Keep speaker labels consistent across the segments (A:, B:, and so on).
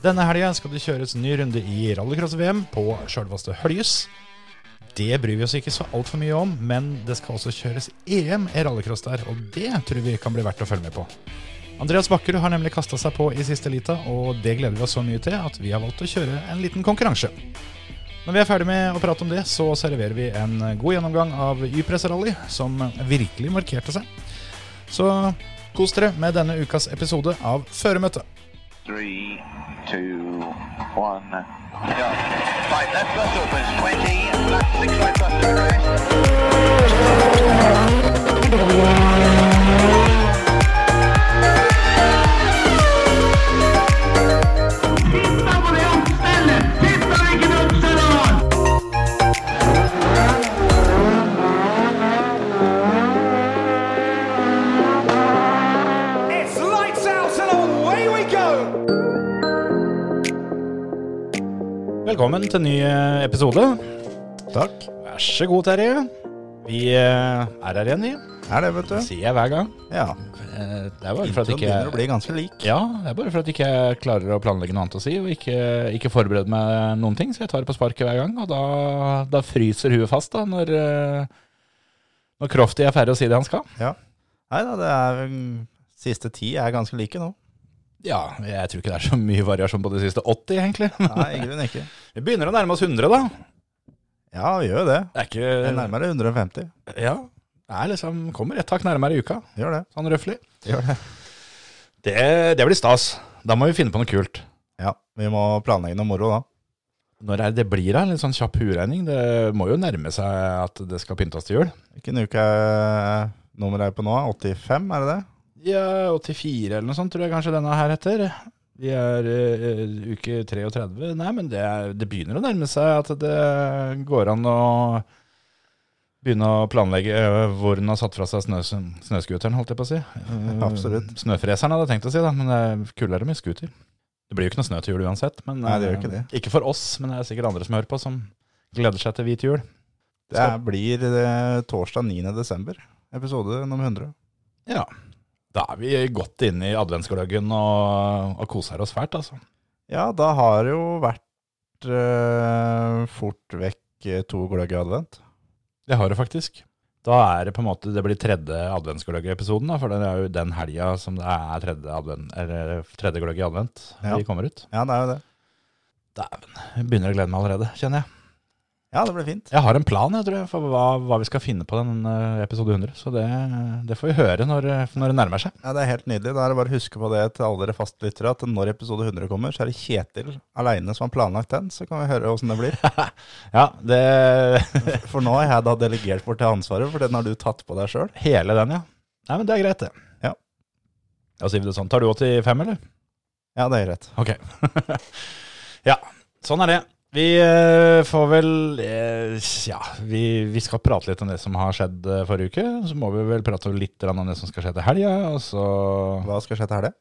A: Denne helga skal det kjøres ny runde i rallycross-VM på sjølveste Høljes. Det bryr vi oss ikke så altfor mye om, men det skal også kjøres EM i rallycross der, og det tror vi kan bli verdt å følge med på. Andreas Bakkerud har nemlig kasta seg på i siste lita, og det gleder vi oss så mye til at vi har valgt å kjøre en liten konkurranse. Når vi er ferdig med å prate om det, så serverer vi en god gjennomgang av Ypres Rally, som virkelig markerte seg. Så kos dere med denne ukas episode av Føremøtet.
B: Three, two, one, go. Right, left bus opens 20, left six right bus to rest.
C: Pizza på det oppstellet! Pizza er ikke noe oppstellet!
D: It's lights out and away we go!
A: Velkommen til ny eh, episode.
E: Takk.
A: Vær så god, Terje. Vi eh, er her igjen, vi.
E: Er det, vet
A: Det
E: du.
A: sier jeg hver gang.
E: Ja.
A: Eh, Det er bare for at
E: Introen
A: ikke
E: begynner å bli ganske lik.
A: Ja, det er bare for at ikke jeg klarer å planlegge noe annet å si, og ikke, ikke forberede meg noen ting, så jeg tar det på sparket hver gang, og da, da fryser huet fast da, når, eh, når Crofty er ferdig å si det han skal.
E: Nei da, det er mm, Siste ti er ganske like nå.
A: Ja, jeg tror ikke det er så mye variasjon på de siste 80, egentlig.
E: Nei, i grunnen ikke.
A: Vi begynner å nærme oss 100, da.
E: Ja, vi gjør jo det.
A: Det er
E: Det
A: ikke
E: er nærmere 150.
A: Ja, det er liksom Kommer et tak nærmere i uka,
E: Gjør det.
A: sånn røftlig.
E: Gjør det.
A: Det, det blir stas. Da må vi finne på noe kult.
E: Ja, vi må planlegge noe moro da.
A: Når er det blir da? En litt sånn kjapp huregning. Det må jo nærme seg at det skal pyntes til jul.
E: Hvilken uke er nummeret er på nå? 85, er det det?
A: Ja, 84 eller noe sånt tror jeg kanskje denne her heter. Vi er eh, uke 33. Nei, men det, er, det begynner å nærme seg at det går an å begynne å planlegge eh, hvor den har satt fra seg snøs snøskuteren, holdt jeg på å si.
E: Mm.
A: Eh,
E: Absolutt.
A: Snøfreseren hadde jeg tenkt å si, da, men det er kulere med skuter. Det blir jo ikke noe snø til jul uansett. Men,
E: Nei, det gjør
A: eh,
E: ikke
A: Ikke for oss, men det er sikkert andre som hører på, som gleder seg til hvit jul.
E: Det er, blir eh, torsdag 9. desember. Episode nummer 100.
A: Ja. Da er vi godt inne i adventsgløggen og, og koser oss fælt, altså.
E: Ja, da har det jo vært eh, fort vekk eh, to gløgg i advent.
A: Det har det faktisk. Da er det på en måte Det blir tredje adventsgløgg-episoden, da, for det er jo den helga som det er tredje, advent, eller tredje gløgg i advent
E: Ja.
A: vi kommer ut.
E: Ja, det er jo det.
A: Dæven. Jeg begynner å glede meg allerede, kjenner jeg.
E: Ja, det blir fint.
A: Jeg har en plan jeg tror jeg, for hva, hva vi skal finne på den eh, episode 100, så det, det får vi høre når, når det nærmer seg.
E: Ja, Det er helt nydelig. Da er det bare å huske på det til alle dere fastlyttere, at når episode 100 kommer, så er det Kjetil aleine som har planlagt den. Så kan vi høre åssen det blir.
A: Ja, det
E: For nå har jeg da delegert bort det ansvaret, for den har du tatt på deg sjøl.
A: Hele den, ja. Nei, men det er greit, det.
E: Ja.
A: Da sier vi det sånn. Tar du 85, eller?
E: Ja, det er greit.
A: Ok. ja, sånn er det. Vi eh, får vel eh, Ja, vi, vi skal prate litt om det som har skjedd eh, forrige uke. Så må vi vel prate litt grann om det som skal skje til helga. Og så
E: Hva skal skje til helga?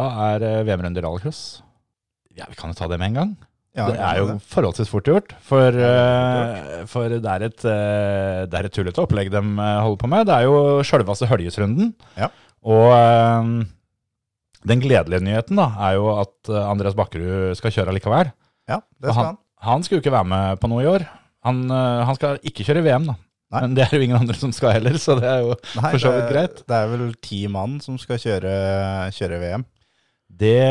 A: Da er eh, VM-runde i rallycross. Ja, vi kan jo ta det med en gang.
E: Ja,
A: det er jo
E: det.
A: forholdsvis fort gjort. For, eh, for det er et, eh, det er et tullete opplegg de eh, holder på med. Det er jo sjølveste Høljesrunden.
E: Ja.
A: Og eh, den gledelige nyheten da, er jo at eh, Andreas Bakkerud skal kjøre likevel.
E: Ja, det skal han.
A: Han skal jo ikke være med på noe i år. Han, eh, han skal ikke kjøre VM, da.
E: Nei.
A: Men det er jo ingen andre som skal heller, så det er jo
E: Nei,
A: for så vidt
E: det-
A: greit.
E: Det er vel ti mann som skal kjøre, kjøre VM.
A: Det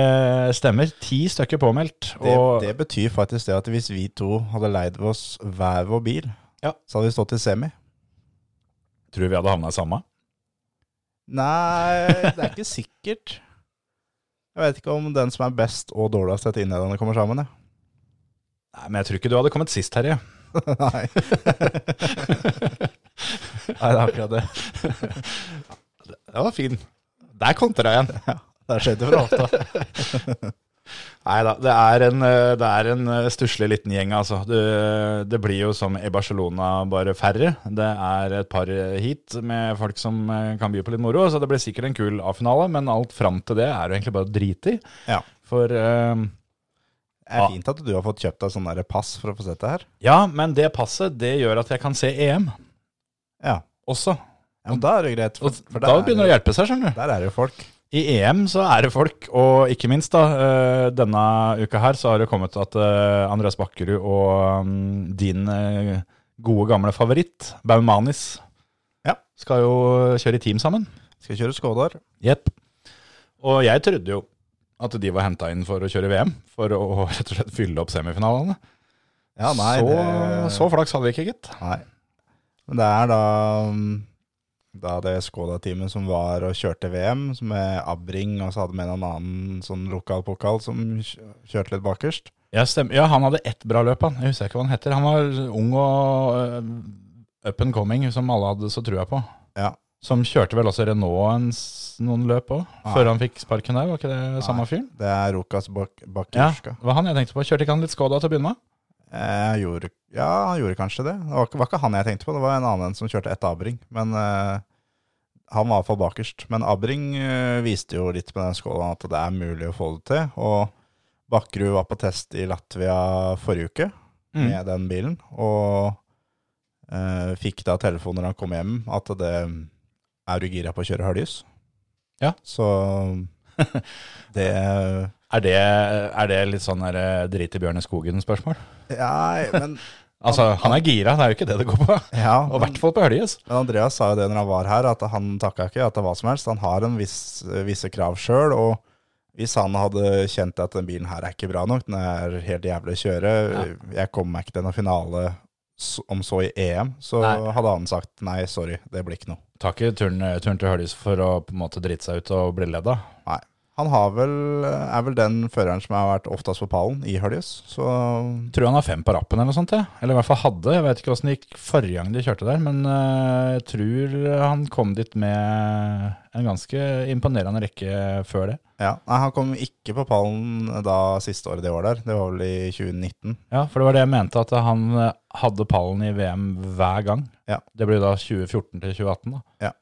A: stemmer. Ti stykker påmeldt.
E: Det,
A: og-
E: det betyr faktisk det at hvis vi to hadde leid oss hver vår bil,
A: Ja.
E: så hadde vi stått i semi.
A: Tror vi hadde havna i samme.
E: Nei, det er ikke sikkert. Jeg vet ikke om den som er best og dårligst etter innledende, kommer sammen. Jeg.
A: Nei, men jeg tror ikke du hadde kommet sist, Terje.
E: Nei.
A: Nei, det er akkurat det. Det var fin. Der kontra jeg igjen.
E: Det skjedde fra ofte.
A: Nei da, det er en, eh, det er en eh, stusslig liten gjeng, altså. Det, det blir jo som i Barcelona, bare færre. Det er et par eh, hit med folk som eh, kan by på litt moro, så det blir sikkert en kul A-finale. Men alt fram til det er jo egentlig bare å drite i.
E: Ja.
A: For eh,
E: Det er fint at du har fått kjøpt deg sånn der pass for å få sett det her.
A: Ja, men det passet, det gjør at jeg kan se E EM
E: Ja.
A: også.
E: ja men da er det jo greit.
A: Og
E: for
A: da
E: der er
A: begynner det å hjelpe seg, skjønner du.
E: Der er det jo folk.
A: I EM så er det folk, og ikke minst da, eh, denne uka her så har det kommet at eh, Andreas Bakkerud og mm, din eh, gode gamle favoritt, Baumanis,
E: Ja.
A: skal jo kjøre i team sammen.
E: Skal kjøre Skådar.
A: Jepp. Og jeg trodde jo at de var henta inn for å kjøre VM, for å rett og slett fylle opp semifinalene.
E: Ja, nei,
A: så,
E: det-
A: så flaks hadde vi ikke, gitt.
E: Nei. Men det er da mm, da det Skoda-teamet som var og kjørte VM, som med Abring, og så hadde med en annen sånn lokal pokal som kjø- kjørte litt bakerst.
A: Ja, stemmer. ja, han hadde ett bra løp, han. Jeg husker ikke hva han heter. Han var ung og øh, up and coming, som alle hadde så trua på.
E: Ja.
A: Som kjørte vel også Renault en, s- noen løp òg,
E: Nei.
A: før han fikk sparken der. Var ikke det samme fyren?
E: Det er Rokas bak
A: Ja,
E: Bakerska.
A: det var han jeg tenkte på. Kjørte ikke han litt Skoda til å begynne med?
E: Eh, gjorde, ja, han gjorde kanskje det. Det var, ikke- var ikke han jeg tenkte på, det var en annen som kjørte etter Abring. Men eh, han var iallfall bakerst. Men Abring eh, viste jo litt med den skåla at det er mulig å få det til. Og Bakkerud var på test i Latvia forrige uke
A: Mm.
E: med den bilen, og eh, fikk da telefon når han kom hjem at det er du gira på å kjøre høljes.
A: Ja.
E: Så det
A: Er det, er det litt sånn der, eh, drit i Bjørn i skogen-spørsmål?
E: Ja, men
A: Altså, han er gira, det er jo ikke det det går på.
E: ja,
A: Og i
E: men,
A: hvert fall på Høljes.
E: men Andreas sa jo det når han var her, at han takka ikke at det var hva som helst. Han har en viss, visse krav sjøl, og hvis han hadde kjent at den bilen her er ikke bra nok, den er helt jævlig å kjøre, jeg kommer meg ikke til noen finale s- om så i EM, så
A: Nei.
E: hadde han sagt nei, sorry, det blir ikke noe.
A: Tar ikke turen, eh, turen til Høljes for å på en måte drite seg ut og bli ledd av.
E: Nei. Han har vel, er vel den føreren som har vært oftest på pallen i Høljes. Så
A: Tror han har fem på rappen eller noe sånt, ja. Eller i hvert fall hadde. Jeg vet ikke åssen det gikk forrige gang de kjørte der, men eh, jeg tror han kom dit med en ganske imponerende rekke før det.
E: ja. Nei, han kom ikke på pallen da siste året de var der. Det var vel i 2019.
A: Ja, for det var det jeg mente, at han eh, hadde pallen i VM hver gang.
E: Ja.
A: Det blir da 2014 til 2018, da.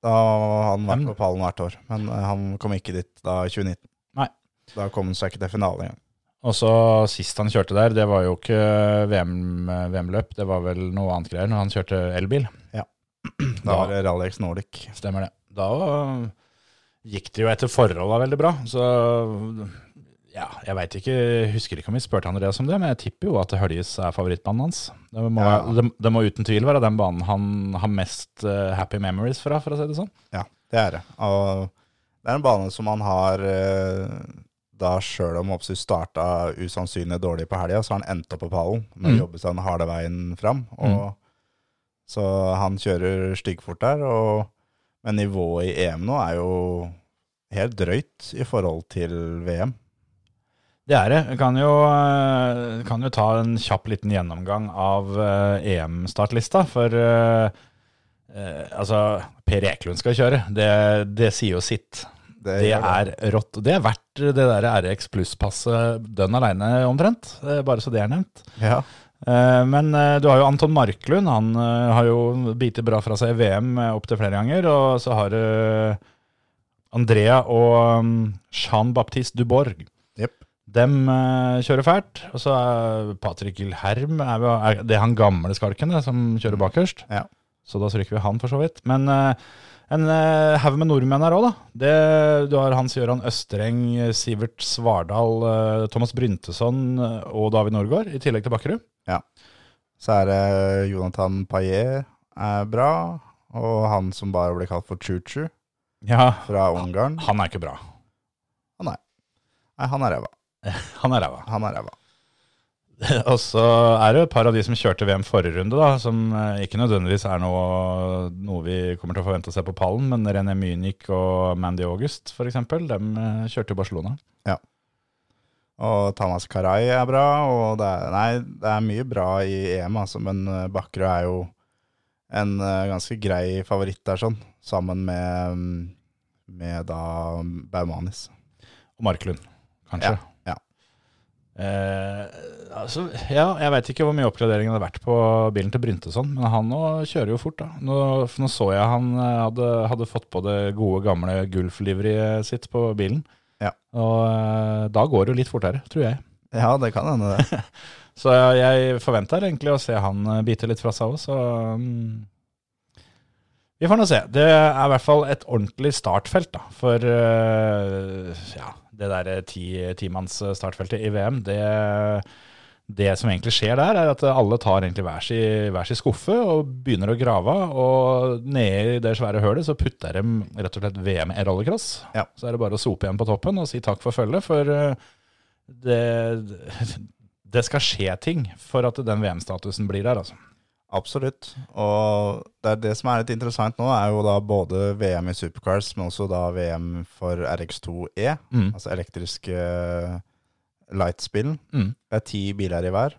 E: Da har han vært
A: Mm.
E: på pallen hvert år, men eh, han kom ikke dit da i 2019.
A: Nei.
E: Da kom han seg ikke til finalen engang.
A: Og så sist han kjørte der, det var jo ikke VM VM-løp, det var vel noe annet greier når han kjørte elbil.
E: Da var det Rally X Nordic.
A: Stemmer det. Da gikk det jo etter forholda veldig bra, så ja, jeg veit ikke, jeg husker ikke om vi spurte Andreas om det, men jeg tipper jo at Høljes er favorittbanen hans. Det må,
E: Ja.
A: være- det, det må uten tvil være den banen han har mest eh, happy memories fra, for å si det sånn.
E: Ja, det er det. Og det er en bane som han har eh, da sjøl om Opsy starta usannsynlig dårlig på helga, så har han endt opp på pallen med
A: Mm.
E: å jobbe seg den harde veien fram. Og, Så han kjører styggfort der. Og, men nivået i EM nå er jo helt drøyt i forhold til VM.
A: Det er det. Vi Kan jo, eh, kan jo ta en kjapp liten gjennomgang av eh, EM-startlista, for eh, eh, altså, Per Eklund skal kjøre. Det, det sier jo sitt. Eh, Det
E: gjør
A: er rått. Det er verdt det der RX Pluss-passet dønn aleine, omtrent. Eh, Bare så det er nevnt.
E: Ja.
A: Eh, Men eh, du har jo Anton Marklund. Han eh, har jo bitt bra fra seg i VM opptil flere ganger. Og så har du Andrea og mm, Jean-Baptiste Duborg.
E: Jepp.
A: Dem eh, kjører fælt. Og så er Patrick Gilherm er, jo- er Det er han gamle skalken det, som kjører bakerst.
E: Ja.
A: Så da stryker vi han, for så vidt. Men eh, en eh, haug med nordmenn her òg, da. Det, du har Hans Gøran Østereng, eh, Sivert Svardal, eh, Thomas Bryntesson eh, og David Norgård, i tillegg til Bakkerud.
E: Så er det Jonathan Paillet er bra. Og han som bare blir kalt for Chuchu
A: Ja,
E: fra Ungarn.
A: han er ikke bra.
E: Nei, han er ræva.
A: Han er ræva.
E: Han er ræva.
A: Og så er det jo et par av de som kjørte VM forrige runde, da, som eh, ikke nødvendigvis er noe, noe vi kommer til å forvente å se på pallen, men René Munich og Mandy August, for eksempel, dem eh, kjørte jo Barcelona.
E: Og Tamas Karai er bra, og det er, nei, det er mye bra i EM, altså, men eh, Bakkerud er jo en eh, ganske grei favoritt der, sånn, sammen med, mm, med da mm, Baumanis.
A: Og Marklund, kanskje.
E: Ja, ja.
A: Eh, altså, ja, jeg veit ikke hvor mye oppgradering det hadde vært på bilen til Bryntesson, men han nå kjører jo fort. da. Nå, for nå så jeg han eh, hadde, hadde fått på det gode, gamle Gulf-liveriet sitt på bilen.
E: Ja.
A: Og eh, da går det jo litt fortere, tror jeg.
E: Ja, det kan hende det.
A: Så jeg forventer egentlig å se han eh, bite litt fra seg òg, så mm, Vi får nå se. Det er i hvert fall et ordentlig startfelt da, for eh, ja, det der eh, ti- timanns eh, startfeltet i VM. Det, det som egentlig skjer der, er at alle tar egentlig hver sin, hver sin skuffe og begynner å grave. Og nede i det svære hølet så putter de rett og slett VM i rallycross.
E: Ja.
A: Så er det bare å sope igjen på toppen og si takk for følget, for eh, det, det skal skje ting for at den VM-statusen blir der, altså.
E: Absolutt. Og det, er det som er litt interessant nå, er jo da både VM i supercars, men også da VM for RX2E,
A: Mm.
E: altså elektriske lightspill.
A: Mm.
E: Det er ti biler i hver.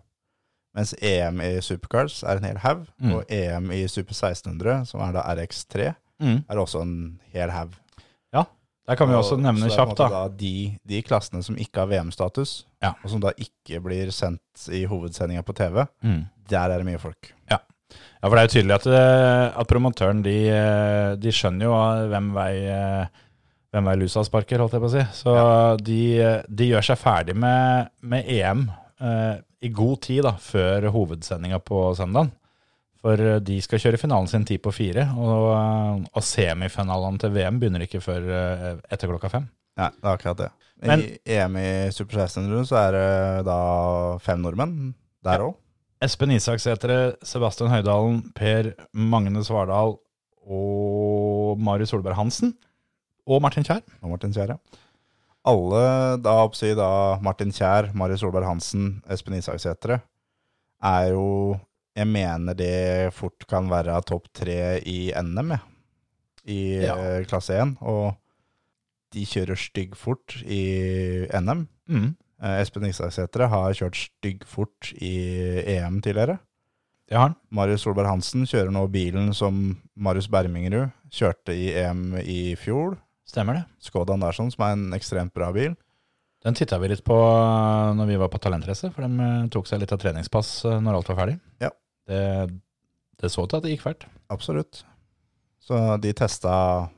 E: Mens EM i supercars er en hel haug,
A: Mm.
E: og EM i super 1600, som er da RX3,
A: Mm.
E: er også en hel haug.
A: Ja, der kan vi også
E: Og-
A: nevne
E: så det er på en
A: kjapt, da.
E: måte de, de klassene som ikke har VM-status,
A: Ja.
E: og som da ikke blir sendt i hovedsendinga på TV,
A: Mm.
E: der er det mye folk.
A: Ja. ja, for det er jo tydelig at, eh, at promotøren de, eh, de skjønner jo eh, hvem vei, eh, hvem vei lusa sparker, holdt jeg på å si. Så de, eh, de gjør seg ferdig med, med EM eh, i god tid da, før hovedsendinga på søndagen. For eh, de skal kjøre finalen sin ti på fire, og, eh, og semifinalene til VM begynner ikke før eh, etter klokka fem.
E: Nei, det er akkurat det.
A: Men-
E: I EM i Super 1600 så er det da fem nordmenn der òg.
A: Espen Isaksetre, Sebastian Høydalen, Per Magne Svardal og Marius Solberg Hansen. Og Martin Kjær.
E: Og Martin Kjær, ja. Alle da, oppsi, da Martin Kjær, Marius Solberg Hansen, Espen Isaksætre, er jo Jeg mener det fort kan være topp tre i NM, jeg. I
A: Ja.
E: eh, klasse 1. Og de kjører stygg fort i NM.
A: Mm.
E: Eh, Espen Isaksætre har kjørt stygg fort i EM tidligere.
A: Det har han.
E: Marius Solberg Hansen kjører nå bilen som Marius Bermingerud kjørte i EM i fjor.
A: Stemmer det.
E: Skodan Larsson, sånn, som er en ekstremt bra bil.
A: Den titta vi litt på eh, når vi var på Talentrace, for de eh, tok seg litt av treningspass eh, når alt var ferdig.
E: Ja.
A: Det, det så til at det gikk fælt.
E: Absolutt. Så de testa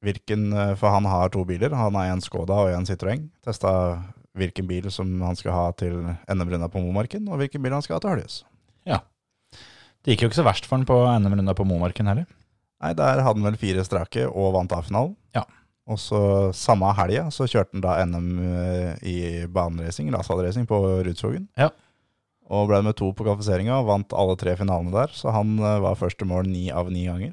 E: hvilken eh, For han har to biler. Han har en Skoda og en Citroën. Testa hvilken bil som han skal ha til NM-runda på Momarken, og hvilken bil han skal ha til Høljes.
A: Det gikk jo ikke så verst for han på NM-runda på Momarken heller.
E: Nei, der hadde han vel fire strake og vant A-finalen.
A: Ja.
E: Og så samme helga så kjørte han da NM i baneracing, rasalracing, på Rudskogen.
A: Ja.
E: Og ble med to på kvalifiseringa og vant alle tre finalene der. Så han eh, var første mål ni av ni ganger.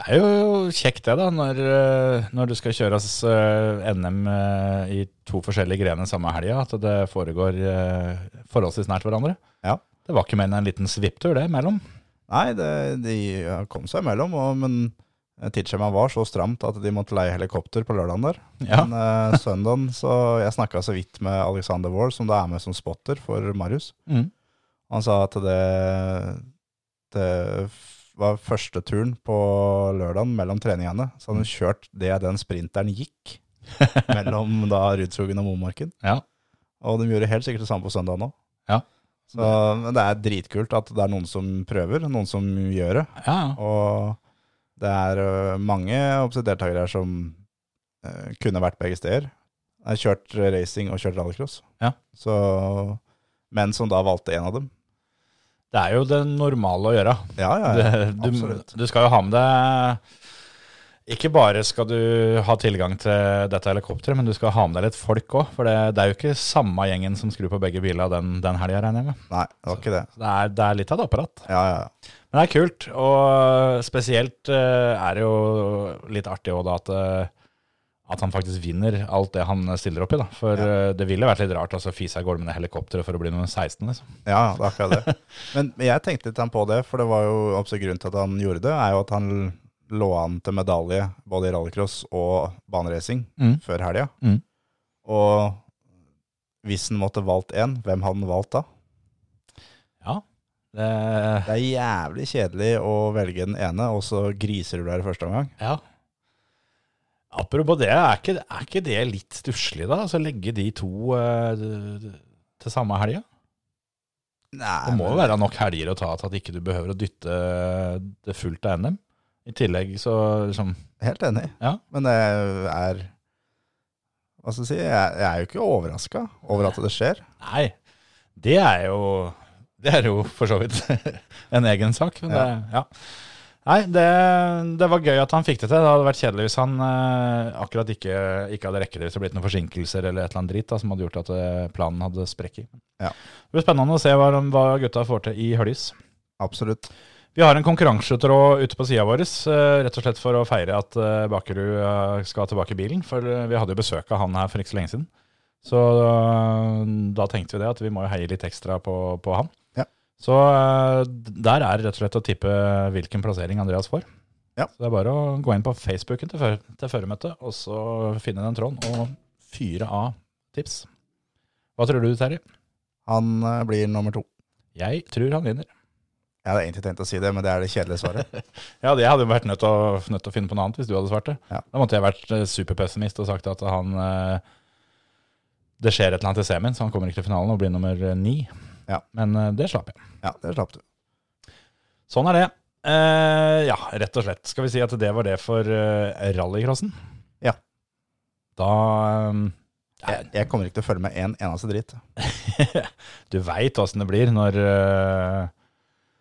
A: Det er jo kjekt det, da, når, eh, når du skal kjøre eh, NM eh, i to forskjellige grener samme helga, at det foregår eh, forholdsvis nært hverandre.
E: Ja.
A: Det var ikke mer enn en liten svipptur, det, imellom.
E: Nei, det, de kom seg imellom, og, men tidsskjemaet var så stramt at de måtte leie helikopter på lørdagen der.
A: Ja.
E: Men eh, søndagen så Jeg snakka så vidt med Alexander Wahl, som da er med som spotter for Marius.
A: Mm.
E: Han sa at det, det f- var første turen på lørdagen mellom treningene. Så hadde han kjørt det den sprinteren gikk mellom da Rudskogen og Momarken.
A: ja.
E: Og de gjorde helt sikkert det samme på søndag nå.
A: Ja.
E: Så men det er dritkult at det er noen som prøver, noen som gjør det.
A: ja.
E: Og det er ø, mange oppsett deltakere her som ø, kunne vært begge steder. Jeg har kjørt øh, racing og kjørt rallycross.
A: Ja.
E: Så, men som da valgte en av dem.
A: Det er jo det normale å gjøre.
E: Ja, ja, ja.
A: Det, du,
E: absolutt.
A: du skal jo ha med deg Ikke bare skal du ha tilgang til dette helikopteret, men du skal ha med deg litt folk òg. For det, det er jo ikke samme gjengen som skrur på begge biler den, den helga, regner jeg med.
E: Nei, det var ikke det.
A: Så Det er, det er litt av et apparat.
E: Ja, ja, ja.
A: Men det er kult, og spesielt eh, er det jo litt artig også da at, eh, at han faktisk vinner alt det han stiller opp i. da. For eh, det ville vært litt rart altså, å fise av gårde med det helikopteret for å bli nummer 16. liksom.
E: Ja, ja, det er akkurat det. Men jeg tenkte litt på det, for det var jo absolutt grunnen til at han gjorde det, er jo at han lå an til medalje både i rallycross og baneracing
A: Mm.
E: før helga.
A: Mm.
E: Og hvis han måtte valgt én, hvem hadde han valgt da?
A: Ja, det,
E: Det er jævlig kjedelig å velge den ene, og så griser du deg i første omgang.
A: Ja. Apropos det, er ikke, er ikke det litt stusslig, da? Altså legge de to eh, til samme helga?
E: Nei,
A: Det må jo være nok helger å ta til at ikke du behøver å dytte det fullt av NM. I tillegg så liksom
E: Helt enig.
A: Ja.
E: Men det er Hva skal jeg si? Jeg, jeg er jo ikke overraska over at det skjer.
A: Nei, det er jo Det er jo for så vidt en egen sak, men det, ja. Nei, det, det var gøy at han fikk det til. Det hadde vært kjedelig hvis han eh, akkurat ikke, ikke hadde rekket det, hvis det hadde blitt noen forsinkelser eller et eller annet dritt da, som hadde gjort at eh, planen hadde sprekk i.
E: Ja.
A: Det blir spennende å se hva, de- hva gutta får til i Høljes.
E: Absolutt.
A: Vi har en konkurransetråd ute på sida vår, eh, rett og slett for å feire at eh, Bakerud eh, skal tilbake i bilen. For eh, vi hadde jo besøk av han her for ikke så lenge siden. Så eh, da tenkte vi det, at vi må jo heie litt ekstra på, på han.
E: Ja.
A: Så eh, d- der er det rett og slett å tippe hvilken plassering Andreas får.
E: Ja.
A: Så det er bare å gå inn på Facebooken til, før, til føremøtet, og så finne den tråden og fyre av tips. Hva tror du, Terje?
E: Han eh, blir nummer to.
A: Jeg tror han vinner.
E: Jeg hadde egentlig tenkt å si det, men det er det kjedelige svaret.
A: Ja, det hadde jo vært nødt til å, nødt til å finne på noe annet hvis du hadde svart det.
E: Ja.
A: Da måtte jeg vært eh, superpessimist og sagt at han eh, Det skjer et eller annet i semien, så han kommer ikke til finalen og blir nummer eh, ni.
E: Ja.
A: Men eh, det slapp jeg.
E: Ja, det slapp du.
A: Sånn er det. Eh, ja, rett og slett. Skal vi si at det var det for eh, rallycrossen?
E: Ja.
A: Da eh,
E: Jeg kommer ikke til å følge med en eneste dritt.
A: Du veit åssen det blir når eh,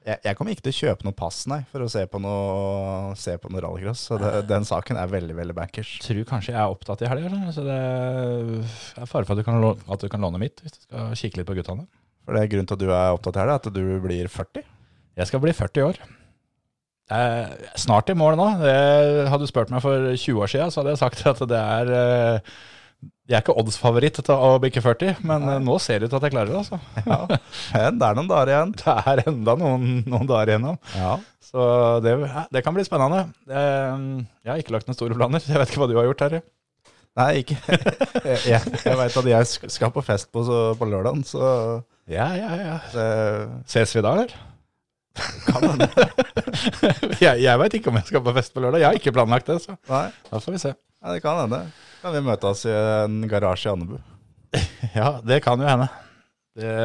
E: Jeg, jeg kommer ikke til å kjøpe noe pass, nei, for å se på noe, se på noe rallycross. Så det, den saken er veldig, veldig bankers.
A: Tror kanskje jeg er opptatt i helga, så det er fare for at du kan, lå- at du kan låne mitt hvis du skal kikke litt på guttene.
E: For det er grunnen til at du er opptatt her, det er at du blir 40.
A: Jeg skal bli 40 år. Jeg er snart i mål nå. Det hadde du spurt meg for 20 år siden, så hadde jeg sagt at det er eh, Jeg er ikke oddsfavoritt til å bikke 40, men eh, nå ser det ut til at jeg klarer det. altså.
E: Ja, men det er noen dager igjen.
A: Det er enda noen, noen dager igjen nå.
E: Ja.
A: Så det, det kan bli spennende. Eh, Jeg har ikke lagt noen store planer. Jeg vet ikke hva du har gjort, Terje.
E: Nei, ikke. Jeg, jeg, jeg veit at jeg sk- skal på fest på, så, på lørdagen, så
A: Ja, ja, ja.
E: det
A: Ses vi da, eller?
E: kan hende.
A: Jeg, jeg veit ikke om jeg skal på fest på lørdag. Jeg har ikke planlagt det, så
E: Nei,
A: da får vi se.
E: ja, det kan hende. Kan vi møtes i en garasje i Andebu?
A: Ja, det kan jo hende. Det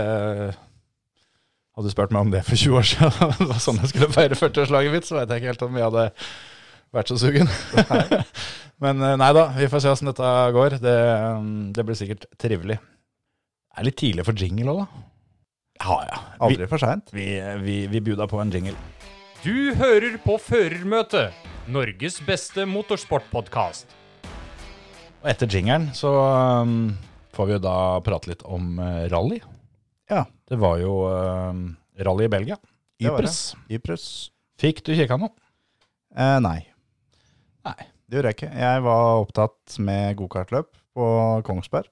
A: Hadde du spurt meg om det for 20 år siden, det var sånn jeg skulle feire 40-årslaget mitt, så veit jeg ikke helt om jeg hadde vært så sugen. Men eh, nei da, vi får se åssen dette går. Det, eh, det blir sikkert trivelig. Det er litt tidlig for jingle òg, da. Ja, ja. Vi,
E: Aldri for seint.
A: vi, vi, vi buda på en jingle.
F: Du hører på Førermøtet, Norges beste motorsportpodkast.
A: Og etter jingelen så um, får vi jo da prate litt om eh, rally.
E: Ja.
A: Det var jo um, rally i Belgia.
E: Det var det.
A: Ypres.
E: Ypres?
A: Fikk du kikka noe?
E: Eh, nei.
A: Nei.
E: Det gjorde jeg ikke. Jeg var opptatt med gokartløp på Kongsberg.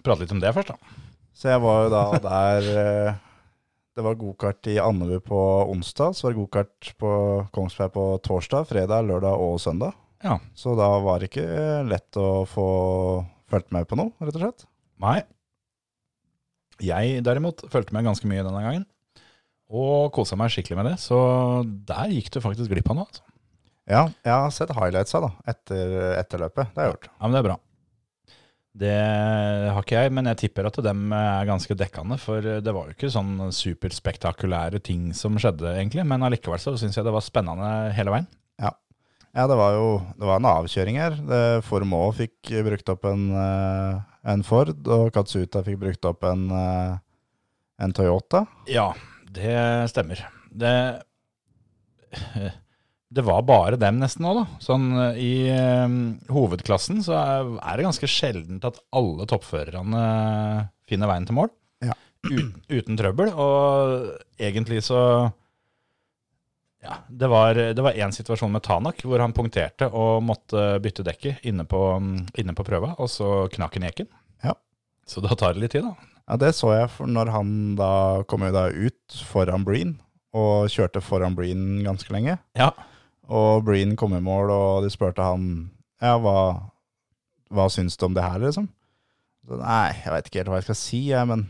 A: Prate litt om det først, da.
E: Så jeg var jo da der eh, Det var gokart i Andebu på onsdag, så var det gokart på Kongsberg på torsdag, fredag, lørdag og søndag.
A: Ja.
E: Så da var det ikke eh, lett å få fulgt med på noe, rett og slett.
A: Nei. Jeg derimot fulgte med ganske mye denne gangen. Og kosa meg skikkelig med det. Så der gikk du faktisk glipp av noe. Altså.
E: Ja, jeg har sett highlightsa da, etter, etter løpet. Det har jeg gjort.
A: Ja, men det er bra. Det har ikke jeg, men jeg tipper at dem er ganske dekkende. For det var jo ikke sånn superspektakulære ting som skjedde, egentlig. Men allikevel så syns jeg det var spennende hele veien.
E: Ja, det var jo det var en avkjøring her. Det- Form òg fikk brukt opp en, eh, en Ford, og Katsuta fikk brukt opp en, eh, en Toyota.
A: Ja, det stemmer. Det Det var bare dem nesten òg, da. Sånn eh, i eh, hovedklassen så er er det ganske sjeldent at alle toppførerne finner veien til mål.
E: Ja.
A: Uten, uten trøbbel. Og egentlig så ja, det var, det var en situasjon med Tanak hvor han punkterte og måtte bytte dekket inne på, inne på prøva, og så knakk han eken.
E: Ja.
A: Så da tar det litt tid, da.
E: Ja, det så jeg for når han da kom jo da ut foran Breen, og kjørte foran Breen ganske lenge.
A: Ja.
E: Og Breen kom i mål, og de spurte han ja, hva, hva syns du om det her, liksom? Så, nei, jeg veit ikke helt hva jeg skal si, jeg, men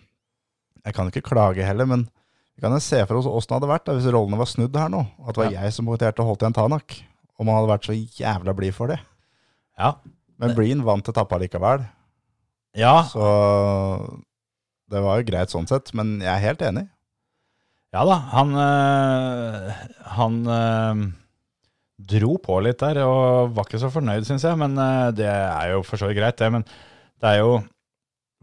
E: jeg kan ikke klage heller. Men vi kan jo se for oss åssen det hadde vært da, hvis rollene var snudd her nå. At det var jeg som punkterte og holdt igjen Tanak. Om han hadde vært så jævla blid for det.
A: Ja.
E: Men Breen vant etappa likevel,
A: ja.
E: så det var jo greit sånn sett. Men jeg er helt enig.
A: Ja da, han, øh, han øh, dro på litt der og var ikke så fornøyd, syns jeg. Men øh, det er jo for så vidt greit, det. Men det er jo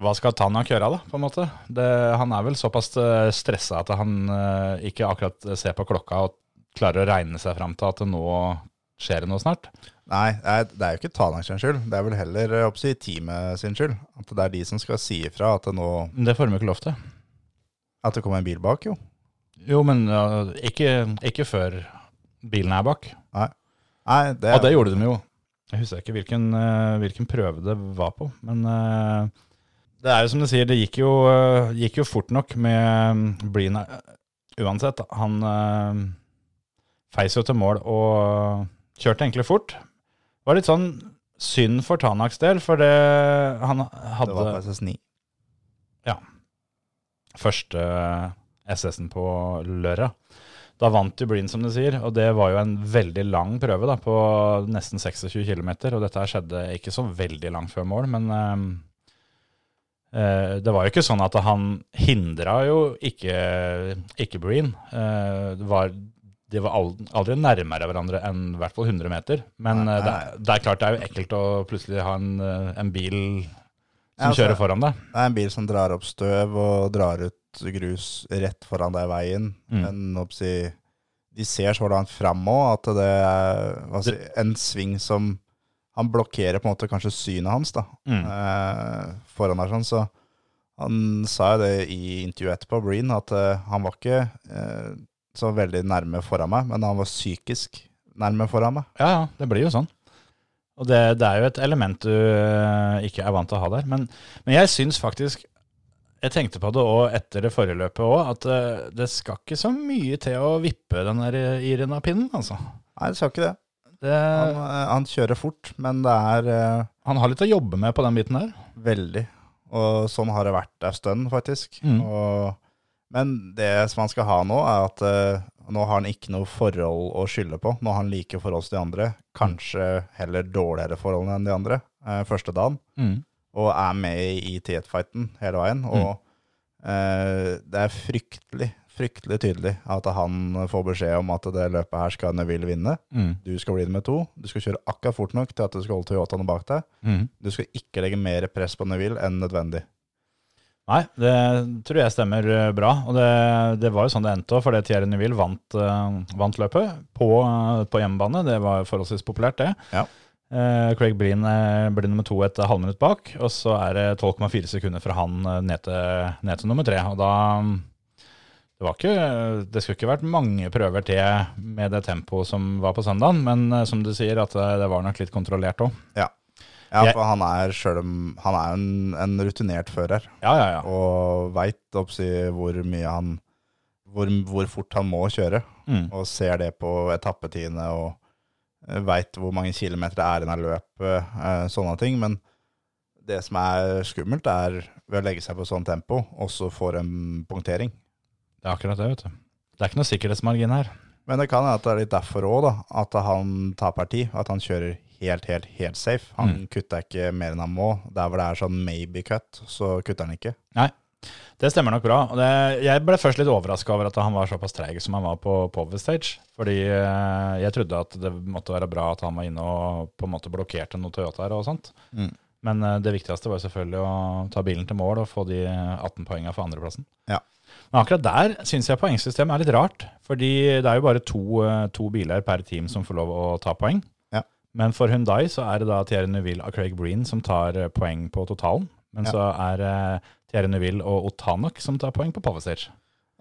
A: Hva skal Tanak gjøre, da, på en måte? eh, Det, han er vel såpass øh, stressa at han øh, ikke akkurat eh, ser på klokka og klarer å regne seg fram til at det nå skjer det noe snart.
E: Nei, det er- det er jo ikke Tanak sin skyld. Det er vel heller jeg håper å si, teamet sin skyld. At det er de som skal si ifra at det nå
A: Men Det får de jo ikke lov til.
E: At det kommer en bil bak, jo.
A: Jo, men ja, ikke, ikke før bilen er bak.
E: Nei, det,
A: Ja, det gjorde de jo. Jeg husker ikke hvilken, eh, hvilken prøve det var på, men eh, det er jo som du sier, det gikk jo, eh, gikk jo fort nok med eh, Blina. Uansett, da, han eh, feis jo til mål og kjørte egentlig fort. Det var litt sånn synd for Tanaks del, for det, han
E: det var
A: hadde
E: på SS9.
A: første SS-en på lørdag. Da vant jo Breen, som du sier, og det var jo en veldig lang prøve da, på nesten 26 km. Og dette her skjedde ikke så veldig langt før mål, men eh, eh, det var jo ikke sånn at han hindra jo ikke, ikke Breen. Eh, det var, de var aldri, aldri nærmere hverandre enn i hvert fall 100 meter. Men
E: Nei,
A: eh, det,
E: nei.
A: er- det er klart det er jo ekkelt å plutselig ha en, eh, en bil som
E: Ja, altså,
A: kjører foran deg.
E: Det er en bil som drar opp støv og drar ut grus rett foran deg i veien.
A: Mm.
E: Men håper å si, de ser så langt fram òg at det er hva skal jeg si, en sving som Han blokkerer på en måte kanskje synet hans da,
A: Mm.
E: eh, foran der. sånn, så Han sa jo det i intervjuet etterpå, Breen, at eh, han var ikke eh, så veldig nærme foran meg, men han var psykisk nærme foran meg.
A: Ja, ja, det blir jo sånn. Og det, det er jo et element du eh, ikke er vant til å ha der. Men, men jeg syns faktisk Jeg tenkte på det òg etter det forrige løpet òg, at eh, det skal ikke så mye til å vippe den der Irina-pinnen, altså.
E: Nei, det skal ikke det.
A: Det,
E: Han,
A: han,
E: eh, han kjører fort, men det er eh,
A: har litt å jobbe med på den biten der.
E: veldig. Og sånn har det vært en stund, faktisk.
A: Mm.
E: Og, men det som han skal ha nå, er at eh, nå har han ikke noe forhold å skylde på. Nå har han like forhold til de andre. Kanskje heller dårligere forhold enn de andre eh, første dagen.
A: Mm,
E: og er med i T1-fighten hele veien. Og eh, det er fryktelig, fryktelig tydelig at han får beskjed om at det løpet her skal Neville vinne.
A: Mm.
E: Du skal bli nummer to. Du skal kjøre akkurat fort nok til at du skal holde Toyotaene bak deg.
A: Mm.
E: Du skal ikke legge mer press på Neville enn nødvendig.
A: Nei, det tror jeg stemmer eh, bra. Og det, det var jo sånn det endte òg, fordi Thierry Neville vant, eh, vant løpet på, eh, på hjemmebane. Det var forholdsvis populært, det.
E: Ja.
A: Eh, Craig Breen eh, blir nummer to et halvminutt bak, og så er det 12,4 sekunder fra han eh, ned til, ned til nummer tre. Og da mm, det, var ikke, det skulle ikke vært mange prøver til med det tempoet som var på søndagen, men eh, som du sier, at eh, det var nok litt kontrollert òg.
E: Ja,
A: Jeg-
E: for han er selv om han er en, en rutinert fører,
A: Ja, ja, ja.
E: og veit hvor mye han hvor, hvor fort han må kjøre.
A: Mm.
E: og ser det på etappetidene og veit hvor mange kilometer det er igjen av løpet, eh, sånne ting. Men det som er skummelt, er ved å legge seg på sånn tempo, og så får en punktering.
A: Det er akkurat det, vet du. Det er ikke noe sikkerhetsmargin her.
E: Men det kan hende at det er litt derfor òg, da. At han taper tid. At han kjører helt, helt, helt safe. Han
A: Mm.
E: kutta ikke mer enn han må. Der hvor det er sånn maybe cut, så kutter han ikke.
A: Nei, det stemmer nok bra. Og det, jeg ble først litt overraska over at han var såpass treig som han var på Power Stage. Fordi eh, jeg trodde at det måtte være bra at han var inne og på en måte blokkerte noen Toyotaer og sånt.
E: Mm.
A: Men eh, det viktigste var jo selvfølgelig å ta bilen til mål og få de 18 poenga for andreplassen.
E: Ja.
A: Men akkurat der syns jeg poengsystemet er litt rart. Fordi det er jo bare to, eh, to biler per team som får lov å ta poeng.
E: Ja.
A: Men for Hyundai så er det da Thierry Neuville og Craig Breen som tar eh, poeng på totalen. Men
E: Ja.
A: så er eh, Thierry Neuville og Otanak som tar poeng på Power Stage.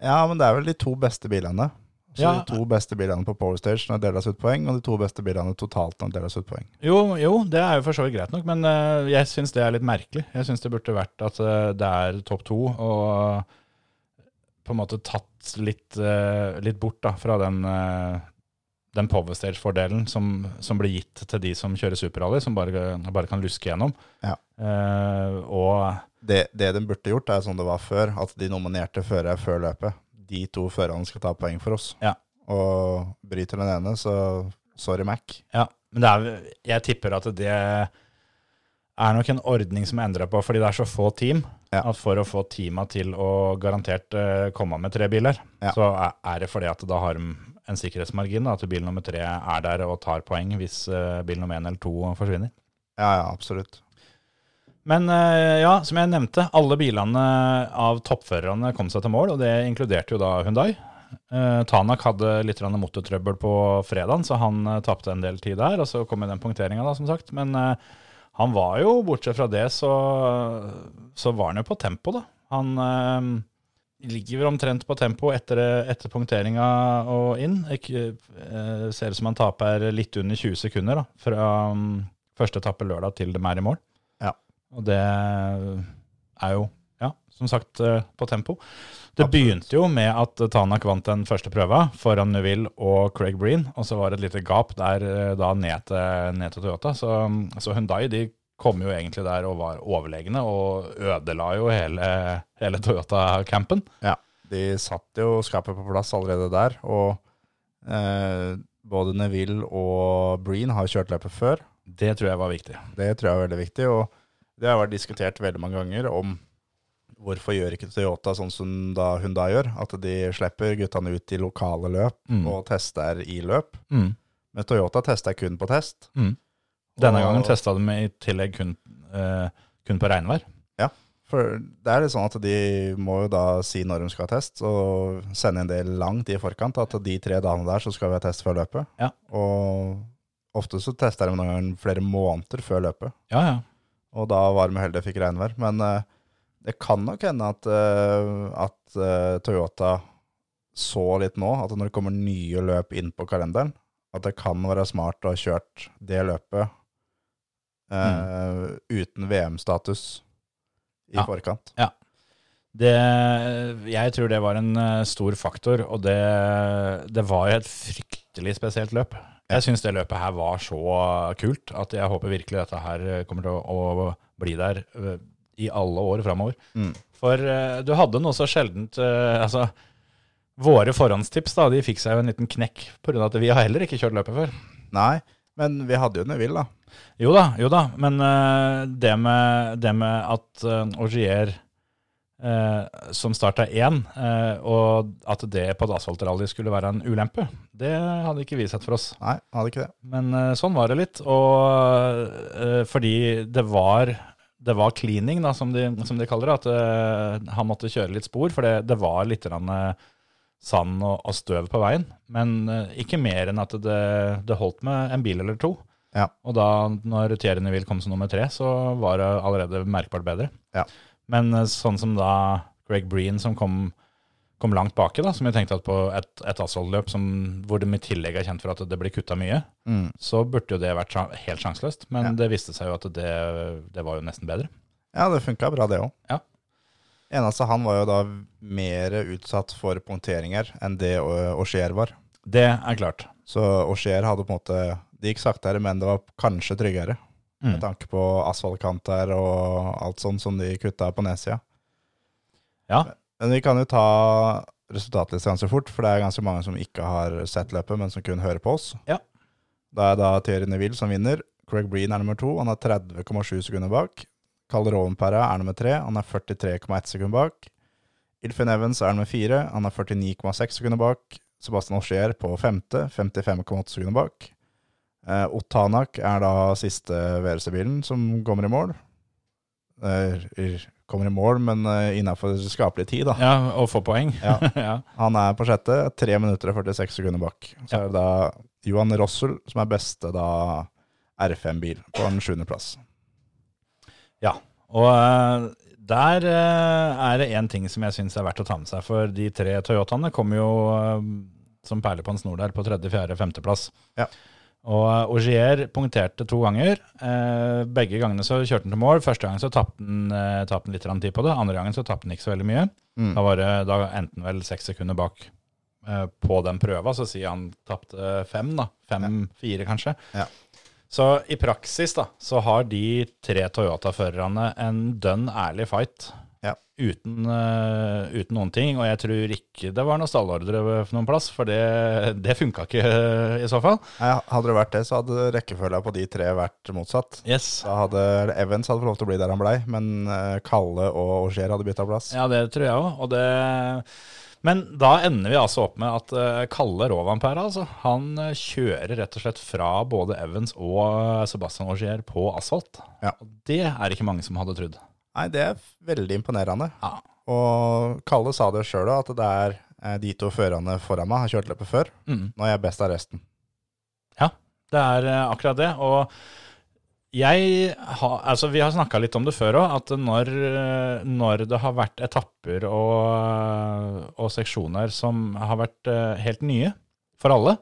E: Ja, men det er vel de to beste bilene. Så
A: Ja.
E: de to beste bilene på Power Stage når det deles ut poeng, og de to beste bilene totalt når det deles ut poeng.
A: Jo, jo, det er jo for så vidt greit nok, men eh, jeg syns det er litt merkelig. Jeg syns det burde vært at eh, det er topp to, og på en måte tatt litt, eh, litt bort da, fra den, eh, den power stage-fordelen som, som blir gitt til de som kjører superrally, som bare, bare kan luske gjennom.
E: Ja.
A: Eh, og
E: det, det de burde gjort, er sånn det var før, at de nominerte førere før løpet. De to førerne skal ta poeng for oss.
A: Ja.
E: Og bryter den ene, så sorry, Mac.
A: Ja, men det er, jeg tipper at det er nok en ordning som er endra på, fordi det er så få team.
E: Ja.
A: At for å få teama til å garantert eh, komme med tre biler,
E: Ja.
A: så er, er det fordi at da har de en sikkerhetsmargin. Da, at bil nummer tre er der og tar poeng hvis eh, bil nummer én eller to forsvinner.
E: Ja, ja, absolutt.
A: Men eh, ja, som jeg nevnte, alle bilene av toppførerne kom seg til mål, og det inkluderte jo da Hundai. Eh, Tanak hadde litt grann motortrøbbel på fredagen, så han eh, tapte en del tid der. Og så kom jo den punkteringa, da, som sagt. Men eh, han var jo, bortsett fra det, så, så var han jo på tempo, da. Han eh, ligger vel omtrent på tempo etter, etter punkteringa og inn. Ikke, eh, ser ut som han taper litt under 20 sekunder da, fra mm, første etappe lørdag til de er i mål.
E: Ja.
A: Og det er jo, ja, som sagt, eh, på tempo. Det
E: Absolutt.
A: begynte jo med at Tanak vant den første prøva foran Nuville og Craig Breen, og så var det et lite gap der eh, da ned til, ned til Toyota. Så, så Hyundai de kom jo egentlig der og var overlegne og ødela jo hele, hele Toyota-campen.
E: Ja, de satt jo skapet på plass allerede der, og eh, både Neville og Breen har kjørt løpet før.
A: Det tror jeg var viktig.
E: Det tror jeg er veldig viktig, og det har vært diskutert veldig mange ganger om hvorfor gjør ikke Toyota sånn som da Hyundai gjør, at de slipper guttene ut i lokale løp
A: Mm.
E: og tester i løp.
A: Mm.
E: Men Toyota tester kun på test.
A: Mm. Denne
E: Og-
A: gangen testa de i tillegg kun, eh, kun på regnvær.
E: For det er litt sånn at de må jo da si når de skal ha test, og sende en del langt i forkant. At de tre dagene der så skal vi ha test før løpet.
A: Ja.
E: Og ofte så tester de noen ganger flere måneder før løpet.
A: Ja, ja.
E: Og da var de heldige og fikk regnvær. Men eh, det kan nok hende at, eh, at eh, Toyota så litt nå, at når det kommer nye løp inn på kalenderen, at det kan være smart å ha kjørt det løpet eh, uten VM-status i
A: Mm. Ja.
E: forkant.
A: Det, jeg tror det var en eh, stor faktor, og det, det var et fryktelig spesielt løp. Jeg syns det løpet her var så kult at jeg håper virkelig dette her kommer til å, å bli der eh, i alle år framover.
E: Mm.
A: For eh, du hadde noe så sjeldent eh, Altså, våre forhåndstips da, de fikk seg jo en liten knekk pga. at vi har heller ikke kjørt løpet før.
E: Nei, men vi hadde jo Neville, da.
A: Jo da, jo da, men eh, det, med, det med at uh, Augier eh, som starta én, eh, og at det på et asfaltrally skulle være en ulempe, det hadde ikke vi sett for oss.
E: Nei, han hadde ikke det.
A: Men eh, sånn var det litt, og eh, fordi det var det var cleaning, da, som de, som de kaller det. At eh, han måtte kjøre litt spor, for det, det var litt grann, eh, sand og, og støv på veien. Men eh, ikke mer enn at det, det holdt med en bil eller to.
E: Ja.
A: Og da når Thierry Neville kom som nummer tre, så var det allerede merkbart bedre.
E: Ja.
A: Men eh, sånn som da Greg Breen som kom, kom langt baki, da, som jeg tenkte at på et, et asfaltløp som- hvor de i tillegg er kjent for at det blir kutta mye,
E: Mm.
A: så burde jo det vært sjan- helt sjanseløst. Men
E: Ja.
A: det viste seg jo at det, det var jo nesten bedre.
E: Ja, det funka bra, det òg.
A: Ja.
E: Eneste han var jo da mer utsatt for punkteringer enn det Auxier var.
A: Det er klart.
E: Så Auxier hadde på en måte Det gikk saktere, men det var kanskje tryggere.
A: Mm.
E: Med tanke på asfaltkanter og alt sånt som de kutta på nedsida.
A: Ja.
E: Men vi kan jo ta resultatlista ganske fort, for det er ganske mange som ikke har sett løpet, men som kun hører på oss.
A: Ja.
E: Det er da Thierry Neville som vinner. Craig Breen er nummer to, han er 30,7 sekunder bak. Kalle Rovenpera er nummer tre, han er 43,1 sekunder bak. Ilfin Evans er nummer fire, han er 49,6 sekunder bak. Sebastian Auchier på femte, 55,8 sekunder bak. Eh, Otanak er da siste VRC-bilen som kommer i mål. Eh, r- kommer i mål, men eh, innafor skapelig tid, da.
A: Ja, og få poeng.
E: Ja.
A: ja.
E: Han er på sjette, 3 minutter og 46 sekunder bak. Så
A: Ja.
E: er det da Johan Rossel som er beste da R5-bil på en sjuendeplass.
A: Ja, og eh, der eh, er det én ting som jeg syns er verdt å ta med seg. For de tre Toyotaene kommer jo eh, som perler på en snor der på tredje, fjerde, femteplass.
E: Ja.
A: Og eh, Augier punkterte to ganger. Eh, Begge gangene så kjørte han til mål. Første gangen så tapte han, eh, tapte han litt grann tid på det. Andre gangen så tapte han ikke så veldig mye.
E: Mm.
A: Da var det da endte han vel seks sekunder bak eh, på den prøva, så sier han tapte fem, da. Fem-fire, kanskje.
E: Ja.
A: Så i praksis da, så har de tre Toyota-førerne en dønn ærlig fight.
E: Ja.
A: Uten, eh, uten noen ting, og jeg tror ikke det var noen stallordre for noen plass, for det, det funka ikke eh, i så fall.
E: Nei, hadde det vært det, så hadde rekkefølga på de tre vært motsatt.
A: Yes.
E: Da hadde eller Evans hadde fått lov til å bli der han blei, men eh, Kalle og Auger hadde bytta plass.
A: Ja, det tror jeg òg. Og det Men da ender vi altså opp med at eh, Kalle Rovanpera, altså, han eh, kjører rett og slett fra både Evans og eh, Sebastian Augier på asfalt.
E: Ja.
A: Og Det er ikke mange som hadde trodd.
E: Nei, det er veldig imponerende.
A: Ja.
E: Og Kalle sa det sjøl òg, at det er Eh, De to førerne foran meg har kjørt løpet før.
A: Mm.
E: Nå er jeg best av resten.
A: Ja, det er eh, akkurat det. Og jeg har, altså vi har snakka litt om det før òg, at når, eh, når det har vært etapper og, og seksjoner som har vært eh, helt nye for alle,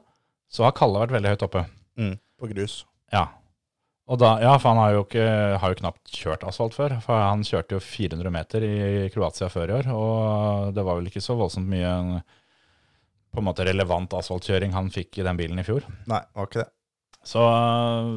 A: så har Kalle vært veldig høyt oppe.
E: På grus.
A: Ja. Og da, ja, for han har jo, ikke, har jo knapt kjørt asfalt før. For han kjørte jo 400 meter i Kroatia før i år, og det var vel ikke så voldsomt mye på en måte relevant asfaltkjøring han fikk i den bilen i fjor.
E: Nei, var ikke det.
A: Så øh,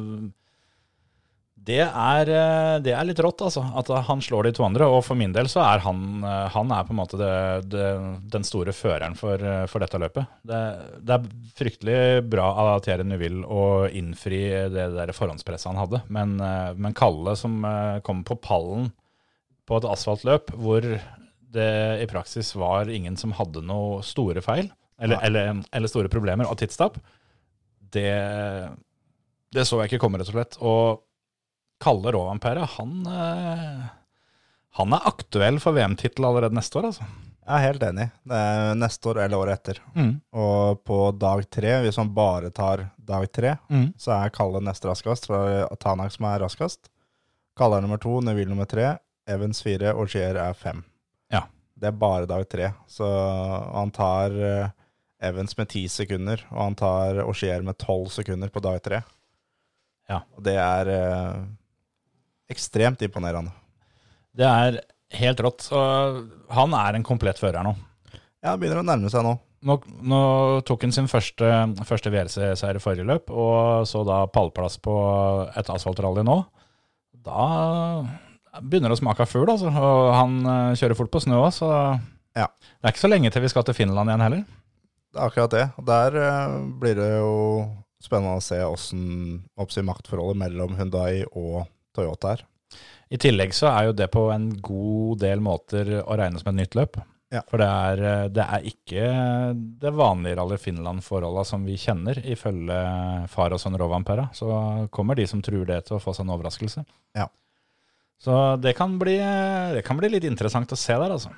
A: det er, øh, det er litt rått, altså. At han slår de to andre. Og for min del så er han, øh, han er på en måte det, det, den store føreren for, øh, for dette løpet. Det, det er fryktelig bra av Thierry Neuville å innfri det der forhåndspresset han hadde. Men, øh, men Kalle som øh, kom på pallen på et asfaltløp hvor det i praksis var ingen som hadde noe store feil, eller,
E: Nei.
A: eller, eller store problemer av tidstap, det det så jeg ikke komme, rett og slett. Og Kalle Råvampere, han, eh, han er aktuell for VM-tittel allerede neste år, altså.
E: Jeg er helt enig. Det er neste år eller året etter.
A: Mm.
E: Og på dag tre, hvis man bare tar dag tre,
A: Mm.
E: så er Kalle nest raskest. For Tanak som er raskest. Kalle er nummer to, Neville nummer tre, Evans fire, og Gier er fem.
A: Ja.
E: Det er bare dag tre. Så han tar eh, Evans med ti sekunder, og han tar Auxier med tolv sekunder på dag tre.
A: Ja.
E: Og det er eh, ekstremt imponerende.
A: Det er helt rått. Og han er en komplett fører nå.
E: Ja, det begynner å nærme seg nå.
A: Nå, nå tok han sin første, første VRC-seier i forrige løp, og så da pallplass på et asfaltrally nå. Da begynner det å smake av fugl, altså. Og han eh, kjører fort på snø òg, så
E: Ja.
A: det er ikke så lenge til vi skal til Finland igjen heller.
E: Det er akkurat det. Og der eh, blir det jo spennende å se åssen oppsi maktforholdet mellom Hundai og Toyota er.
A: I tillegg så er jo det på en god del måter å regne som et nytt løp.
E: Ja.
A: For det er, eh, det er ikke det vanlige Rally Finland-forholda som vi kjenner, ifølge far og sønn Rovanpera. Så kommer de som tror det til å få seg en overraskelse.
E: Ja.
A: Så det kan, bli, det kan bli litt interessant å se der, altså.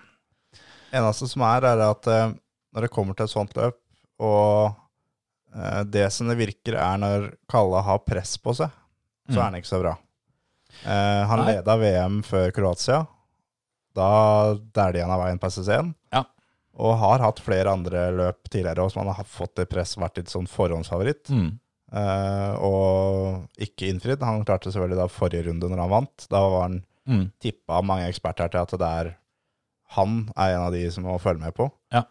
E: Eneste som er, er at eh, når det kommer til et sånt løp, og eh, det som det virker er når Kalle har press på seg, så
A: Mm.
E: er han ikke så bra. Eh, han
A: Nei.
E: leda VM før Kroatia. Da dælja han av veien på SS1.
A: Ja.
E: Og har hatt flere andre løp tidligere også, som han har fått det press, vært litt sånn forhåndsfavoritt.
A: Mm.
E: Eh, og ikke innfridd. Han klarte selvfølgelig da forrige runde når han vant. Da var han
A: Mm.
E: tippa av mange eksperter til at det er han er en av de som må følge med på.
A: Ja.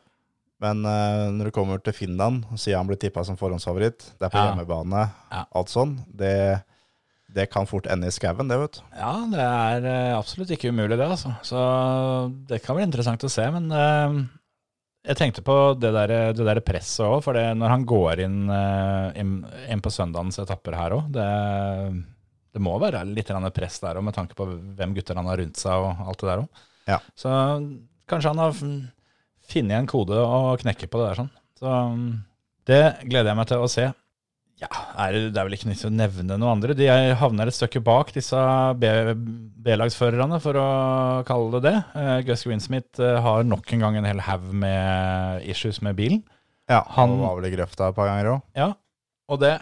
E: Men eh, når det kommer til Finland, sier han blir tippa som forhåndsfavoritt. Det er på
A: Ja.
E: hjemmebane,
A: Ja.
E: alt sånn. Det, det kan fort ende i skauen, det, vet du.
A: Ja, det er eh, absolutt ikke umulig det, altså. Så det kan bli interessant å se, men eh, jeg tenkte på det der, det der presset òg, for det, når han går inn, eh, inn, inn på søndagens etapper her òg, det, det må være litt grann press der òg, med tanke på hvem gutter han har rundt seg og alt det der òg.
E: Ja.
A: Så kanskje han har f- funnet en kode å knekke på det der sånn. Så mm, det gleder jeg meg til å se. Ja, er, det det er vel ikke nytt å nevne noen andre. De er- havner et stykke bak disse B- B-lagsførerne, for å kalle det det. Eh, Gus Greensmith eh, har nok en gang en hel haug med issues med bilen.
E: Ja, han
A: Han-
E: var vel i grøfta et par ganger òg.
A: Ja, og det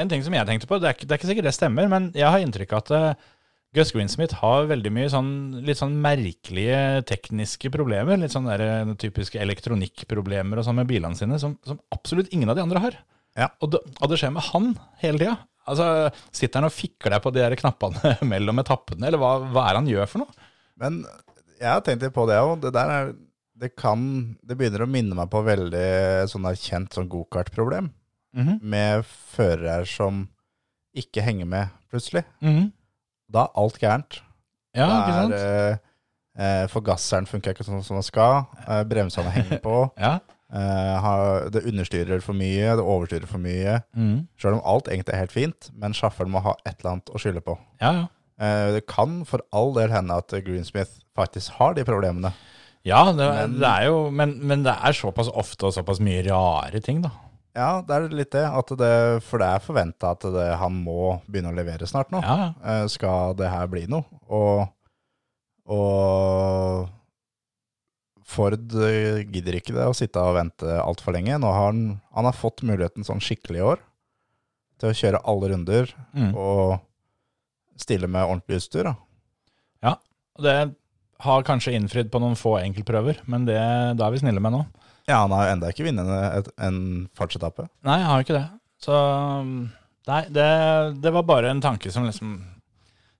A: En ting som jeg tenkte på, det er, ikke- det er ikke sikkert det stemmer, men jeg har inntrykk av at eh, Gus Greensmith har veldig mye sånn, litt sånn merkelige tekniske problemer. Litt sånn der, eh, typiske elektronikkproblemer og sånn med bilene sine, som, som absolutt ingen av de andre har.
E: Ja.
A: Og, det, og det skjer med han hele tida. Altså, sitter han og fikler på de der knappene mellom etappene, eller hva, hva er det han gjør for noe?
E: Men jeg har tenkt litt på det òg. Det der er det kan Det begynner å minne meg på veldig sånn der kjent sånn gokartproblem.
A: Mhm.
E: Med førere som ikke henger med, plutselig. Da er alt gærent.
A: Mhm. Ja,
E: Da
A: ikke sant?
E: er, eh, eh, forgasseren funker ikke sånn som den skal. Eh, bremsene henger på.
A: Ja.
E: eh, har, det understyrer for mye, det overstyrer for mye.
A: Mhm.
E: Sjøl om alt egentlig er helt fint, men sjåføren må ha et eller annet å skylde på.
A: ja, ja.
E: Eh, det kan for all del hende at Greensmith faktisk har de problemene.
A: Ja, det, det er jo, men, men det er såpass ofte og såpass mye rare ting, da.
E: Ja, det er litt det. At det for det er forventa at det, han må begynne å levere snart nå.
A: Ja, ja.
E: eh, skal det her bli noe? Og, og Ford eh, gidder ikke det å sitte og vente altfor lenge. Nå har han, han har fått muligheten sånn skikkelig i år til å kjøre alle runder
A: Mm.
E: og stille med ordentlig utstyr. Da.
A: Ja, og det har kanskje innfridd på noen få enkeltprøver, men det, det er vi snille med nå.
E: Ja, han har jo enda ikke vunnet et- en fartsetappe.
A: Nei, jeg har jo ikke det. Så um, Nei, det, det var bare en tanke som liksom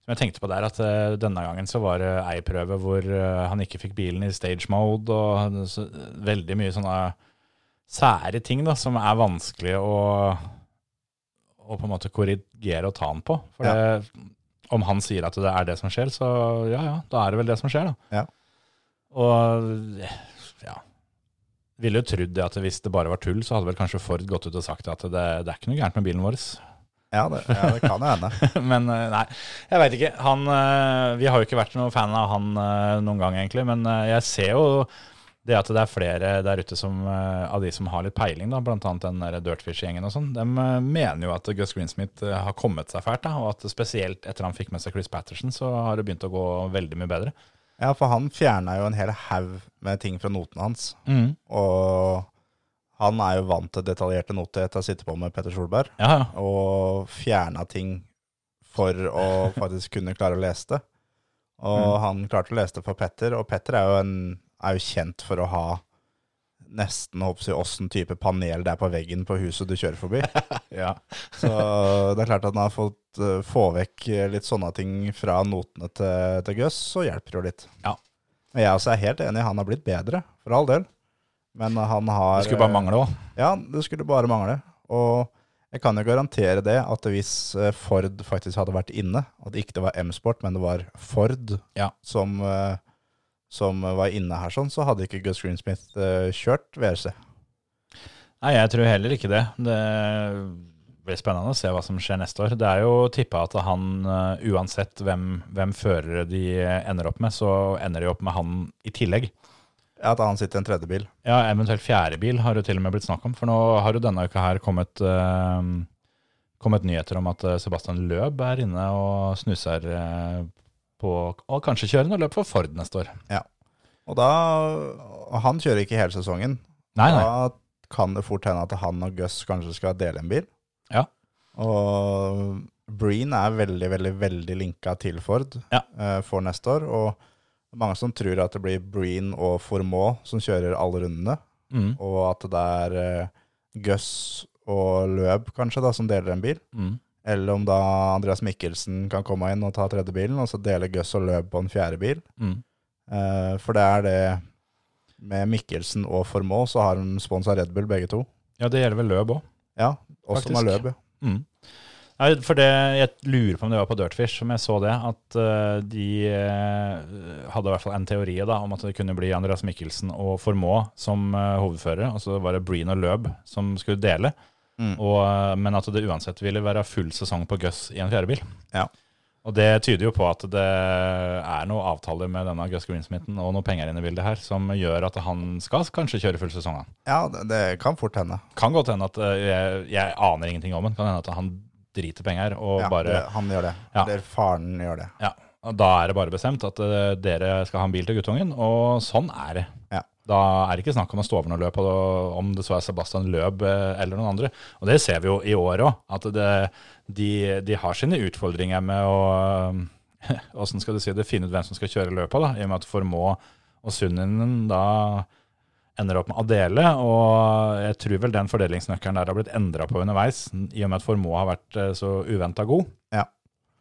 A: Som jeg tenkte på der, at eh, denne gangen så var det ei prøve hvor eh, han ikke fikk bilen i stage mode, og han- så, veldig mye sånne sære ting da, som er vanskelig å, å på en måte korrigere og ta han på. For det, om han sier at det er det som skjer, så ja ja, da er det vel det som skjer, da.
E: Ja.
A: Og ja, ville jo trodd det at hvis det bare var tull, så hadde vel kanskje Ford gått ut og sagt at det, det er ikke noe gærent med bilen vår.
E: Ja, det, ja, det kan jo hende.
A: men eh, nei, jeg veit ikke. Han, eh, vi har jo ikke vært noen fan av han eh, noen gang, egentlig. Men eh, jeg ser jo det at det er flere der ute som, eh, av de som har litt peiling, da, bl.a. den der Dirtfish-gjengen og sånn, de mener jo at Gus Greensmith eh, har kommet seg fælt. da, Og at spesielt etter han fikk med seg Chris Patterson, så har det begynt å gå veldig mye bedre.
E: Ja, for han fjerna jo en hel haug med ting fra notene hans. Og han er jo vant til detaljerte noter etter å sitte på med Petter Solberg.
A: Ja, ja.
E: Og fjerna ting for å faktisk kunne klare å lese det. Og
A: Mm.
E: han klarte å lese det for Petter, og Petter er jo, en, er jo kjent for å ha nesten håper jeg, å si, åssen type panel det er på veggen på huset du kjører forbi.
A: ja.
E: Så det er klart at han har fått eh, få vekk litt sånne ting fra notene til, til Gus, så hjelper det jo litt.
A: Ja.
E: Men jeg også er helt enig, han har blitt bedre, for all del. Men han har eh,
A: Det skulle bare mangle òg.
E: Ja, det skulle bare mangle. Og jeg kan jo garantere det at hvis eh, Ford faktisk hadde vært inne, at ikke det var M-Sport, men det var Ford
A: Ja.
E: som, eh, som var inne her sånn, så hadde ikke Gus Greensmith eh, kjørt VRC.
A: Nei, jeg tror heller ikke det. Det blir spennende å se hva som skjer neste år. Det er jo tippa at han, eh, uansett hvem, hvem førere de eh, ender opp med, så ender de opp med han i tillegg.
E: Ja, At han sitter i en tredje bil.
A: Ja, eventuelt fjerde bil har det til og med blitt snakk om, for nå har jo denne uka her kommet, eh, kommet nyheter om at eh, Sebastian Løb er inne og snuser eh, på Og kanskje kjører noe løp for Ford neste år.
E: Og da og Han kjører ikke hele sesongen.
A: Nei, nei.
E: Da kan det fort hende at han og Gus kanskje skal dele en bil.
A: Ja.
E: Og Breen er veldig, veldig, veldig linka til Ford
A: Ja.
E: eh, for neste år. Og mange som tror at det blir Breen og Formaux som kjører alle rundene.
A: Mm,
E: Og at det er eh, Gus og Løb kanskje da, som deler en bil.
A: mm.
E: Eller om da Andreas Mikkelsen kan komme inn og ta tredje bilen, og så deler Gus og Løb på en fjerde bil.
A: Mm.
E: Eh, for det er det Med Mikkelsen og Formaux så har de sponsa Red Bull begge to.
A: Ja, det gjelder vel Løb òg.
E: Ja, også med
A: Faktisk.
E: Løb, ja.
A: Mm. Nei, for det, Jeg lurer på om det var på Dirtfish som jeg så det, at eh, de eh, hadde i hvert fall en teori da, om at det kunne bli Andreas Mikkelsen og Formoe som eh, hovedførere, og så var det Breen og Løb som skulle dele,
E: Mm.
A: og, eh, men at det uansett ville være full sesong på Gus i en fjerdebil.
E: Ja.
A: Og det tyder jo på at det er noen avtaler med denne Gus Greensmithen og noen penger inne i bildet her, som gjør at han skal kanskje kjøre full sesong. han.
E: Ja, det, det kan fort hende.
A: Kan godt hende at eh, jeg, jeg aner ingenting om den. Kan hende at han driter penger og
E: Ja,
A: bare
E: det, han gjør det.
A: Ja.
E: Eller faren gjør det.
A: Ja, og da er det bare bestemt at eh, dere skal ha en bil til guttungen, og sånn er det.
E: Ja.
A: Da er det ikke snakk om å stå over noe løp, og da- om det så er Sebastian Løb eh, eller noen andre. Og det ser vi jo i år òg, at det, de, de har sine utfordringer med å Åssen skal du si det, finne ut hvem som skal kjøre løpet, da, i og med at Formå og Sunninen da ender opp med Adele, og jeg tror vel den fordelingsnøkkelen der har blitt endra på underveis, i og med at Formå har vært eh, så uventa god.
E: Ja.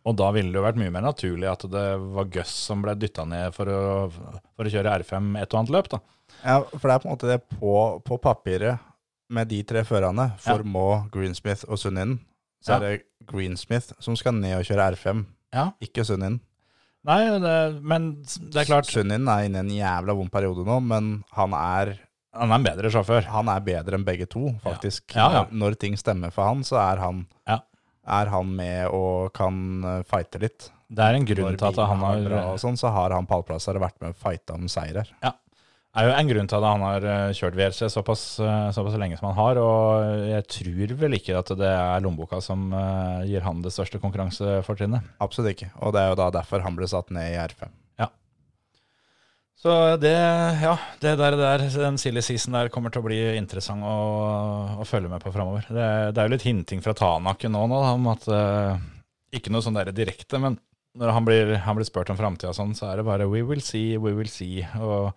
A: Og da ville det jo vært mye mer naturlig at det var Gus som ble dytta ned for å, for å kjøre R5 et og annet løp, da.
E: ja, for det er på en måte det på, på papiret med de tre førerne, Formå, Greensmith og Sunninen, så
A: Ja.
E: er det Greensmith som skal ned og kjøre R5,
A: Ja.
E: ikke Sunninen.
A: Nei, det, men det er klart,
E: Sunninen er inne i en jævla vond periode nå, men han er,
A: han er en bedre sjåfør.
E: han er bedre enn begge to, faktisk.
A: Ja, ja.
E: Når, når ting stemmer for han, så er han,
A: Ja.
E: er han med og kan eh, fighte litt.
A: Det er en grunn
E: Når
A: til at
E: bilen
A: han
E: har vært bra
A: har
E: og sånn, så har han pallplasser og vært med og fighta om seirer.
A: Ja. Det eh, er jo en grunn til at han har eh, kjørt VRC såpass, eh, såpass lenge som han har, og jeg tror vel ikke at det er lommeboka som eh, gir han det største konkurransefortrinnet.
E: Absolutt ikke. Og det er jo da derfor han ble satt ned i R5.
A: Så det, ja, det der, det der, den silly season der kommer til å bli interessant å, å følge med på framover. Det, er- det er jo litt hinting fra Tanaken nå, nå da, om at eh, Ikke noe sånn der direkte, men når han blir, han blir spurt om framtida sånn, så er det bare we will see, we will see. Og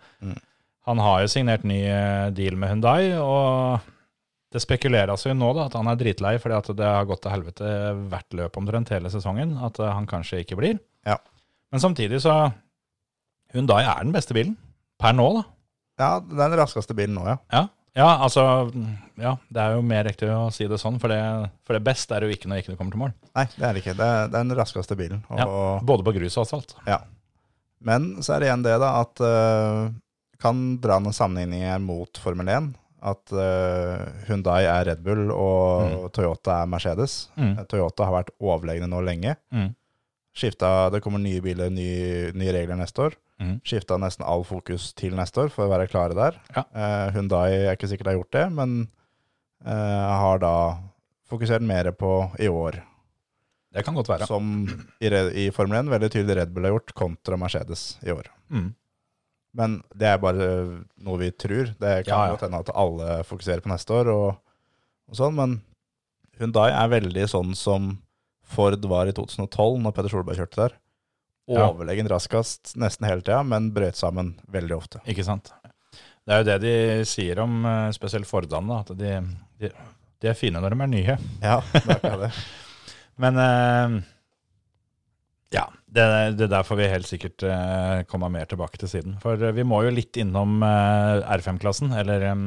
A: han har jo signert ny eh, deal med Hundai, og det spekuleres jo nå da at han er dritlei fordi at det har gått til helvete hvert løp omtrent hele sesongen, at eh, han kanskje ikke blir.
E: Ja.
A: Men samtidig så Hyundai er den beste bilen. Per nå, da.
E: Ja, det er den raskeste bilen nå, ja.
A: Ja, ja altså Ja, det er jo mer riktig å si det sånn, for det, for det beste er det jo ikke når ikke du kommer til mål.
E: Nei, det er det ikke. Det er, det er den raskeste bilen. Og,
A: Ja, både på grus og asfalt.
E: Ja. Men så er det igjen det, da, at eh, kan dra noen sammenligninger mot Formel 1. At eh, Hyundai er Red Bull og Toyota er Mercedes. Eh,
A: Mm.
E: Toyota har vært overlegne nå lenge.
A: Mm.
E: Skifta, det kommer nye biler, nye, nye regler neste år.
A: Mm.
E: Skifta nesten all fokus til neste år for å være klare der.
A: Ja.
E: Eh, Hyundai er ikke sikkert de har gjort det, men eh, har da fokusert mer på i år
A: Det kan godt være.
E: som i, re- i Formel 1 veldig tydelig Red Bull har gjort kontra Mercedes i år.
A: Mm.
E: Men det er bare eh, noe vi tror. Det
A: Ja,
E: kan
A: ja.
E: godt hende at alle fokuserer på neste år og, og sånn, men Hyundai er veldig sånn som Ford var i 2012 når Petter Solberg kjørte der.
A: Ja.
E: Overlegen raskest nesten hele tida, men brøt sammen veldig ofte.
A: Ikke sant. Det er jo det de sier om eh, spesielt Fordan, da, at de, de, de er fine når de er nye.
E: Ja, det er ikke det.
A: Men eh, ja, det, det der får vi helt sikkert eh, komme mer tilbake til siden. For eh, vi må jo litt innom eh, R5-klassen, eller, em,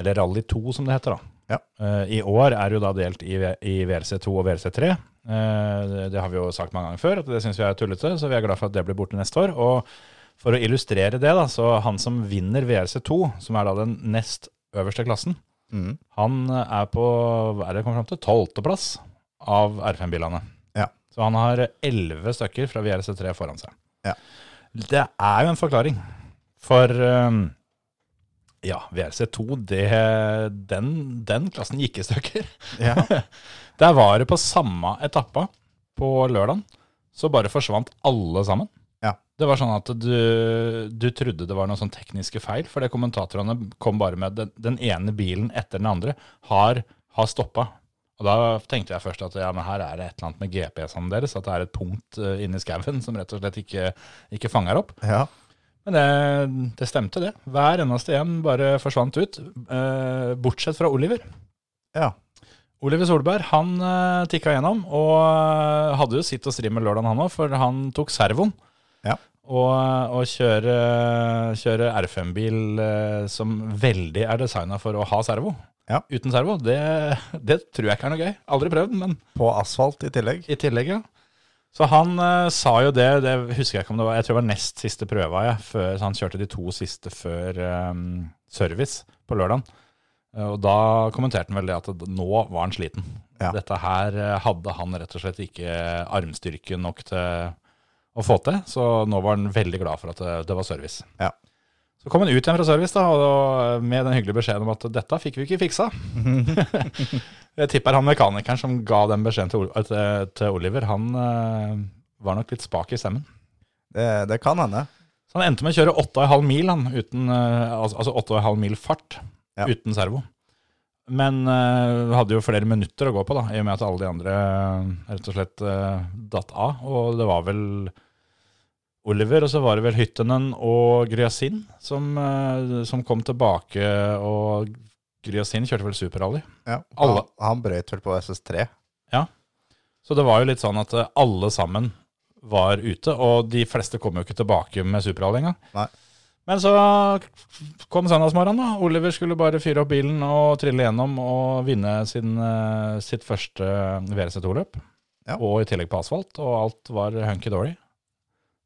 A: eller Rally 2 som det heter da.
E: Ja.
A: Eh, I år er jo da delt i, V- i VRC2 og VRC3. Eh, det- det har vi jo sagt mange ganger før, at det syns vi er tullete, så vi er glad for at det blir borte neste år. Og for å illustrere det, da, så han som vinner VRC2, som er da den nest øverste klassen,
E: Mm.
A: han er på hva er det jeg kom fram til, tolvteplass av R5-bilene.
E: Ja.
A: Så han har elleve stykker fra VRC3 foran seg.
E: Ja.
A: Det er jo en forklaring. For um, ja, VRC2, det, den, den klassen gikk i stykker.
E: Ja.
A: Der var det på samme etappa på lørdagen, så bare forsvant alle sammen.
E: Ja.
A: Det var sånn at du, du trodde det var noen sånn tekniske feil, fordi kommentatorene kom bare med den, den ene bilen etter den andre har, har stoppa. Og da tenkte jeg først at ja, men her er det et eller annet med GPS-ene deres, at det er et punkt eh, inni skauen som rett og slett ikke, ikke fanger opp.
E: ja.
A: Men det, det stemte, det. Hver eneste en bare forsvant ut, eh, bortsett fra Oliver.
E: Ja.
A: Oliver Solberg han uh, tikka gjennom, og eh, hadde jo sitt og stri med lørdagen han òg, for han tok servoen.
E: Ja.
A: Og, og kjøre, kjøre R5-bil eh, som veldig er designa for å ha servo.
E: Ja.
A: Uten servo, det, det tror jeg ikke er noe gøy. Aldri prøvd, men
E: På asfalt i tillegg.
A: i tillegg, ja. Så han eh, sa jo det, det husker jeg ikke om det var, jeg tror det var nest siste prøva, jeg, før, så han kjørte de to siste før eh, service på lørdagen. Eh, og da kommenterte han vel det at det- nå var han sliten.
E: Ja.
A: Dette her eh, hadde han rett og slett ikke armstyrke nok til å få til, så nå var han veldig glad for at eh, det, det var service.
E: Ja.
A: Så kom han ut igjen fra service da, og da, med den hyggelige beskjeden om at dette fikk vi ikke fiksa. Jeg tipper han mekanikeren som ga den beskjeden til, Ol- eh, til, til Oliver, han eh, var nok litt spak i stemmen.
E: Det, det kan hende.
A: Så han endte med å kjøre 8,5 mil, han, uten, eh, al- altså 8,5 mil fart,
E: Ja.
A: uten servo. Men eh, hadde jo flere minutter å gå på, da, i og med at alle de andre eh, rett og slett eh, datt av. Og det var vel Oliver, og så var det vel Hyttenen og Gryasin som, eh, som kom tilbake. Og Gryasin kjørte vel superrally.
E: Ja.
A: Alle-
E: Han, han brøyt vel på SS3.
A: Så det var jo litt sånn at eh, alle sammen var ute, og de fleste kom jo ikke tilbake med Superhall engang.
E: Nei.
A: Men så kom søndagsmorgenen, da. Oliver skulle bare fyre opp bilen og trille gjennom og vinne sin, eh, sitt første eh, VRC2-løp.
E: Ja.
A: Og i tillegg på asfalt, og alt var hunky-dory.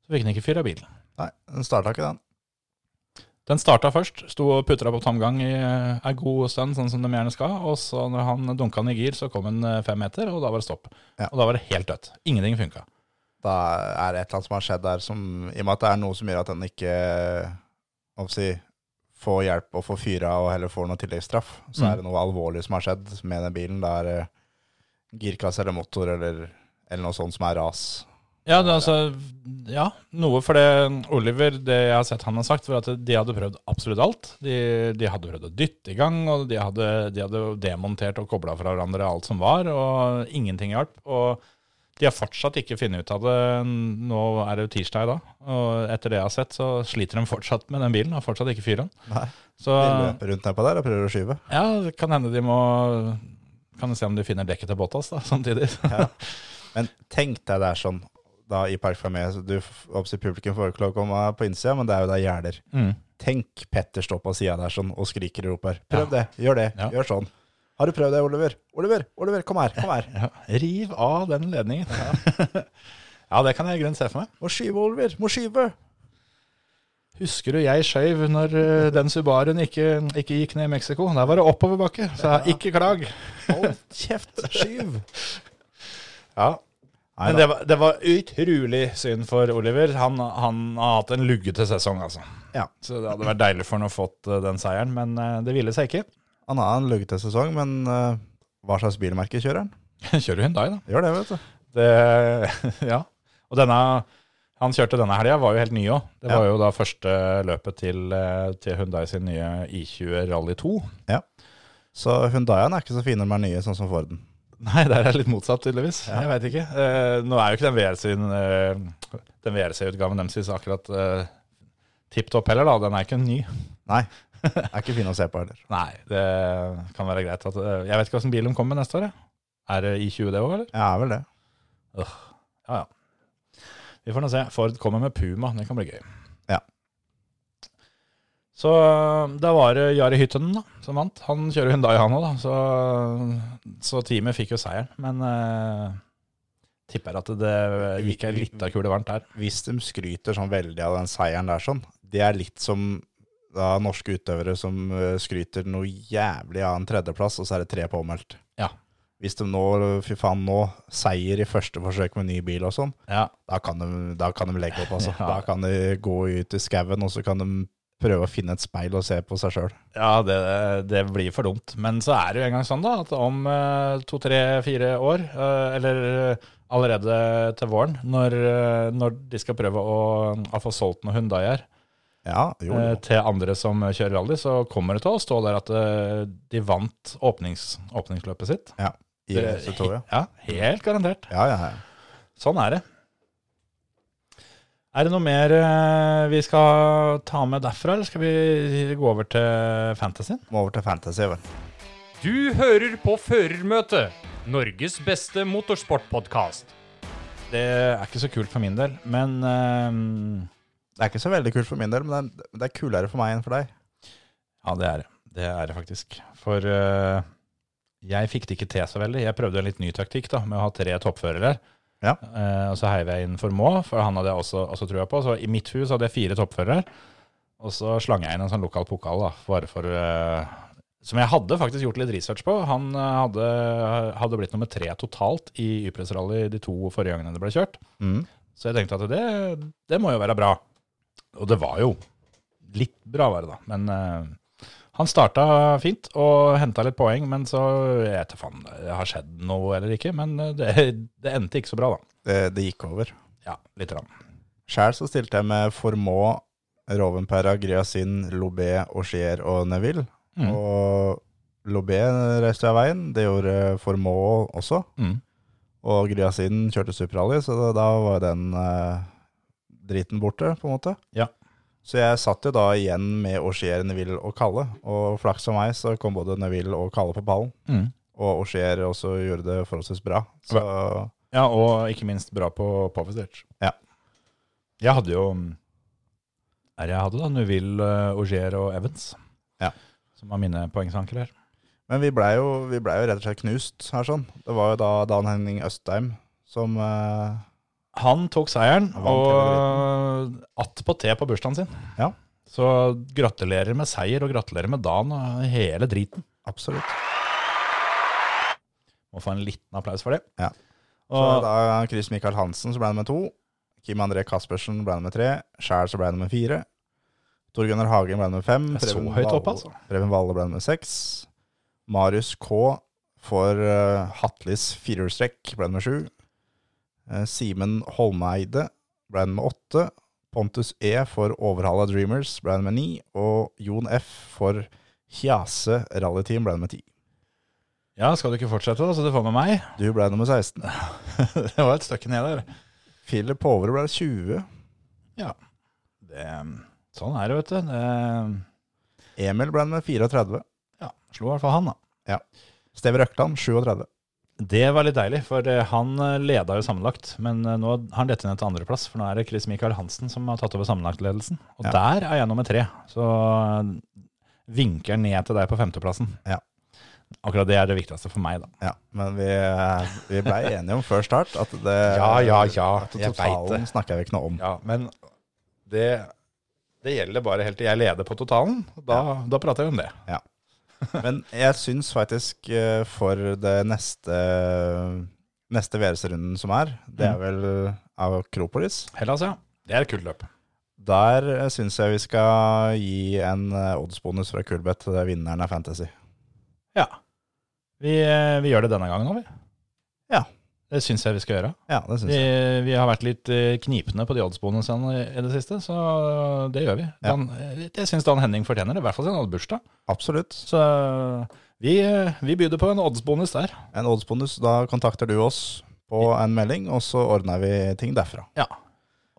A: Så fikk han ikke fyra bilen.
E: Nei, den starta ikke den.
A: Den starta først, sto og putra på tomgang i eh, ei god stund, sånn som de gjerne skal. Og så når han dunka den i gir, så kom han eh, fem meter, og da var det stopp.
E: Ja.
A: Og da var det helt dødt. Ingenting funka.
E: da er det et eller annet som har skjedd der, som, i og med at det er noe som gjør at den ikke hva skal jeg si, får hjelp og får fyra og heller får noe tilleggsstraff, så
A: Mm.
E: er det noe alvorlig som har skjedd med den bilen. Det er eh, girkasse eller motor eller, eller noe sånt som er ras.
A: Ja, det, altså, ja, noe for det Oliver, det jeg har sett han har sagt, var at de hadde prøvd absolutt alt. De, de hadde prøvd å dytte i gang, og de hadde, de hadde demontert og kobla fra hverandre alt som var, og ingenting hjalp. Og de har fortsatt ikke funnet ut av det. Nå er det jo tirsdag i dag, og etter det jeg har sett, så sliter de fortsatt med den bilen. Har fortsatt ikke fyren.
E: Nei.
A: Så
E: De løper rundt nedpå der og prøver å skyve.
A: ja, det kan hende de må Kan se om de finner dekket til Bottas da, samtidig.
E: Men tenk deg det er sånn da i Park Fermé. så Du oppsier publikum får ikke lov å komme på innsida, men det er jo der gjerder.
A: Mm.
E: Tenk Petter står på sida der sånn og skriker og roper. Prøv det, gjør det,
A: Ja.
E: gjør sånn. Har du prøvd det, Oliver? Oliver, Oliver, kom her, kom her.
A: Ja, riv av den ledningen. Ja. det kan jeg i grunnen se for meg.
E: Må skyve, Oliver, må skyve.
A: Husker du jeg skøyv når eh, den Subaruen ikke, ikke gikk ned i Mexico? Der var det oppoverbakke, så ikke klag.
E: Hold kjeft, skyv.
A: Ja. Men det var, det var utrolig synd for Oliver. Han, han har hatt en luggete sesong, altså.
E: Ja.
A: Så det hadde vært deilig for han å fått eh, den seieren, men eh, det ville seg ikke.
E: Han har en luggete sesong, men eh, hva slags bilmerke kjører han?
A: Kjører Hyundai, da.
E: Gjør det, vet du.
A: Det, ja. Og denne han kjørte denne helga, var jo helt ny òg. Det var
E: Ja.
A: jo da første løpet til, eh, til Hyundai sin nye I20 Rally 2.
E: Så Hundaien er ikke så fin når de er nye, sånn som Forden.
A: Nei, der er det litt motsatt, tydeligvis. Jeg veit ikke. Eh, nå er jo ikke den VRC sin, eh, den VRC-utgaven deres is akkurat uh, tipp topp heller, da. Den er ikke ny.
E: Nei, er ikke fin å se på heller.
A: Nei, det kan være greit at eh, Jeg vet ikke hvilken bil de kommer med neste år, jeg. Er det I20 det òg, eller?
E: Ja, er vel det.
A: Ja, ja. Vi får nå se. Ford kommer med Puma. Det kan bli gøy.
E: Ja.
A: Så eh, da var det Jari Hyttenen da, som vant. Han kjører Hyundai han òg, da. Så, så teamet fikk jo seieren. Men eh, tipper at det gikk ei lita kule varmt der.
E: Hvis de skryter sånn veldig av den seieren der sånn, det er litt som da norske utøvere som eh, skryter noe jævlig av en tredjeplass, og så er det tre påmeldt.
A: Ja.
E: Hvis de nå, fy faen nå, seier i første forsøk med ny bil og sånn,
A: Ja.
E: da kan de, da kan de legge opp, altså.
A: Ja.
E: Da kan de gå ut i skauen, og så kan de prøve å finne et speil og se på seg sjøl.
A: Ja, det, det blir for dumt. Men så er det jo engang sånn da, at om eh, to, tre, fire år, eh, eller eh, allerede til våren, når, eh, når de skal prøve å, å få solgt noen Hyundaier
E: Ja, jo,
A: eh,
E: jo.
A: til andre som kjører rally, så kommer det til å stå der at eh, de vant åpnings, åpningsløpet sitt.
E: Ja, i
A: Det-
E: SV2, ja.
A: Ja, helt garantert.
E: Ja, ja, ja.
A: Sånn er det. Er det noe mer eh, vi skal ta med derfra, eller skal vi gå over til fantasyen?
E: Må over til fantasy, vel.
F: Du hører på Førermøtet, Norges beste motorsportpodkast.
A: Det er ikke så kult for min del, men eh,
E: Det er ikke så veldig kult for min del, men det er, det er kulere for meg enn for deg.
A: Ja, det er det. Det er det faktisk. For eh, jeg fikk det ikke til så veldig. Jeg prøvde en litt ny taktikk da, med å ha tre toppførere.
E: Ja.
A: Eh, og så heiv jeg inn Formoe, for han hadde jeg også, også trua på. Så i mitt hus hadde jeg fire toppførere. Og så slang jeg inn en sånn lokal pokal, da, bare for eh, Som jeg hadde faktisk gjort litt research på. Han eh, hadde, hadde blitt nummer tre totalt i Ypres Rally de to forrige gangene det ble kjørt.
E: Mm.
A: Så jeg tenkte at det, det må jo være bra. Og det var jo litt bra var det da. Men eh, han starta fint og henta litt poeng, men så Jeg vet da faen, det har skjedd noe eller ikke, men eh, det, det endte ikke så bra, da.
E: Det, det gikk over.
A: Ja, lite grann.
E: Sjæl så stilte jeg med Formå, Rovenpera, Gryasin, Lobé, Auchier og Neville.
A: Mm.
E: Og Lobé reiste av veien, det gjorde Formå også.
A: Mm.
E: Og Gryasin kjørte Superrally, så da, da var den eh, driten borte, på en måte.
A: Ja.
E: Så jeg satt jo da igjen med Auchier, Neville og Kalle. Og flaks for meg så kom både Neville og Kalle på ballen.
A: Mm.
E: Og Auchier også gjorde det forholdsvis bra. Så
A: Ja, og ikke minst bra på Poverstretch.
E: Ja.
A: Jeg hadde jo Er jeg hadde, da? Nuville, Auger og Evans.
E: Ja.
A: Som var mine poengsanker her.
E: Men vi blei jo, vi ble jo rett og slett knust her sånn. Det var jo da Dan Henning Østheim som eh,
A: Han tok seieren,
E: Han vant
A: og attpåtil på bursdagen sin.
E: Ja.
A: Så gratulerer med seier, og gratulerer med dagen og hele driten.
E: Absolutt.
A: Må få en liten applaus for det.
E: Ja. Så
A: Og,
E: da Chris Michael Hansen så ble han med to. Kim André Kaspersen ble han med tre. Sjæl så ble han med fire. Tor Gunnar Hagen ble han med fem.
A: Det er så
E: Preben
A: høyt opp,
E: Valle-
A: altså.
E: Preben Valle ble han med seks. Marius K for eh, Hatlis firehjulstrekk ble han med sju. Eh, Simen Holmeide ble han med åtte. Pontus E for Overhalla Dreamers ble han med ni. Og Jon F for Hjase Rallyteam ble han med ti.
A: Ja, skal du ikke fortsette, da, så du får med meg?
E: Du ble nummer 16.
A: det var et stykke ned der.
E: Philip Hovre ble 20.
A: Det, sånn er det, vet du. Det,
E: Emil ble med 34.
A: ja, slo i hvert fall han, da.
E: Steve Røkland 37.
A: Det var litt deilig, for eh, han eh, leda jo sammenlagt. Men eh, nå har han dette ned til andreplass, for nå er det Chris Michael Hansen som har tatt over sammenlagtledelsen. Og
E: Ja.
A: der er jeg nummer tre. Så eh, vinker ned til deg på femteplassen.
E: Ja.
A: Akkurat det er det viktigste for meg, da.
E: Ja, men vi, eh, vi ble enige om før start at det
A: Ja, ja, ja,
E: at
A: jeg vet
E: totalen
A: Eh, det.
E: snakker vi ikke noe om.
A: Ja, men det, det gjelder bare helt til jeg leder på totalen. Da, da prater jeg om det.
E: Men jeg syns faktisk eh, for det neste Neste VRC-runden som er, det
A: Mm.
E: er vel Akropolis.
A: Hellas, ja. Det er et kult løp.
E: Der eh, syns jeg vi skal gi en eh, oddsbonus fra Kulbeth til vinneren av Fantasy.
A: Ja. Vi, eh, vi gjør det denne gangen òg, vi.
E: Ja.
A: Det syns jeg vi skal gjøre.
E: Ja, det syns
A: Vi,
E: jeg.
A: vi har vært litt eh, knipne på de oddsbonusene i i det siste, så det gjør vi.
E: Ja.
A: Dan, eh, jeg syns Dan Henning fortjener det, i hvert fall siden han hadde bursdag.
E: Absolutt.
A: Så vi, eh, vi byr på en oddsbonus der.
E: En oddsbonus, da kontakter du oss på en melding, og så ordner vi ting derfra.
A: Ja.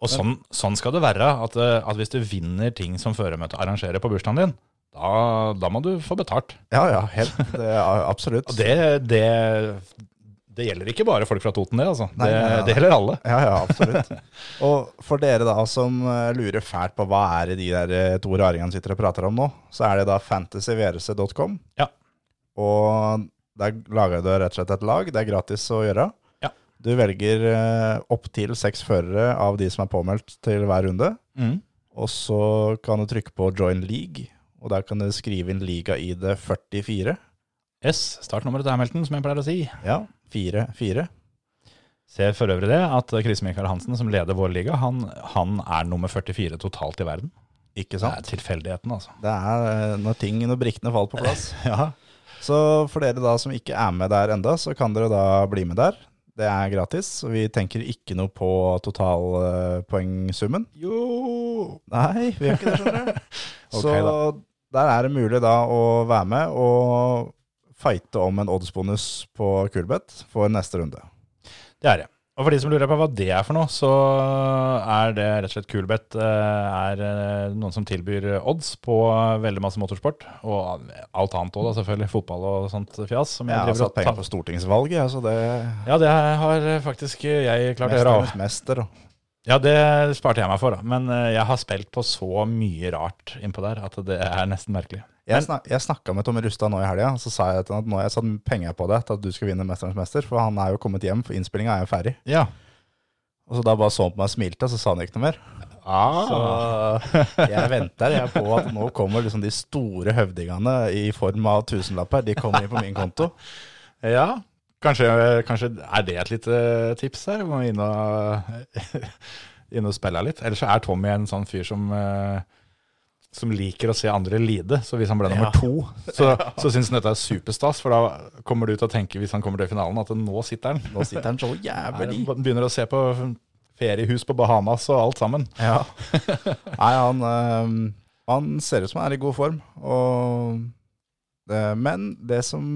A: Og sånn, sånn skal det være, at, eh, at hvis du vinner ting som føremøtet arrangerer på bursdagen din, da, da må du få betalt.
E: Ja, ja, helt. Det er absolutt.
A: Og det, det, det gjelder ikke bare folk fra Toten, det, altså.
E: Nei,
A: det,
E: nei, nei.
A: det gjelder alle.
E: Ja, ja, absolutt. Og for dere da som eh, lurer fælt på hva er det de der eh, to raringene sitter og prater om nå, så er det da fantasyvrc.com.
A: Ja.
E: Og der lager du rett og slett et lag. Det er gratis å gjøre.
A: Ja.
E: Du velger eh, opptil seks førere av de som er påmeldt til hver runde.
A: Mm.
E: Og så kan du trykke på join league, og der kan du skrive inn liga-ID 44.
A: Yes, startnummeret til Hamilton, som jeg pleier å si.
E: Ja, 4-4.
A: Ser for øvrig det at Chris Michael Hansen, som leder vår liga, han, han er nummer 44 totalt i verden.
E: Ikke
A: Det
E: sant?
A: er tilfeldigheten, altså.
E: Det er eh, når ting, når brikkene faller på plass. ja. Så for dere da som ikke er med der enda, så kan dere da bli med der. Det er gratis, og vi tenker ikke noe på totalpoengsummen.
A: Jo!
E: Nei, vi gjør ikke det, skjønner du. så
A: Ok,
E: der er det mulig da å være med og fighte om en oddsbonus på Kulbeth for neste runde.
A: Det er det. Og for de som lurer på hva det er for noe, så er det rett og slett Kulbeth. Er eh, noen som tilbyr odds på veldig masse motorsport. Og alt annet òg, selvfølgelig. Fotball og sånt fjas. Som jeg
E: Jeg har
A: driver
E: satt
A: og tar-
E: penger på stortingsvalget, ja, så det
A: Ja, det har faktisk jeg klart å gjøre òg.
E: Mesternes mester. og-
A: Ja, det sparte jeg meg for, da. Men eh, jeg har spilt på så mye rart innpå der at det er nesten merkelig.
E: Jeg, snak, jeg snakka med Tommy Rustad nå i helga, så sa jeg til han at nå har jeg satt penger på deg til at du skal vinne Mesterens mester, for han er jo kommet hjem, for innspillinga er jo ferdig.
A: Ja.
E: Og så da bare så han på meg og smilte, så sa han ikke noe mer. Så jeg venter jeg på at nå kommer liksom de store høvdingene i form av tusenlapper, de kommer inn på min konto.
A: ja. Kanskje, kanskje er det et lite tips her? Må inn og, inn og spille litt. Ellers så er Tommy en sånn fyr som eh, som liker å se andre lide. Så hvis han ble nummer to, så, så syns han dette er superstas. For da kommer du til å tenke, hvis han kommer til finalen, at nå sitter han.
E: Nå sitter han så jævlig
A: Han begynner å se på feriehus på Bahamas og alt sammen.
E: Ja. Nei, han, øhm, han ser ut som han er i god form. Og, det, men det som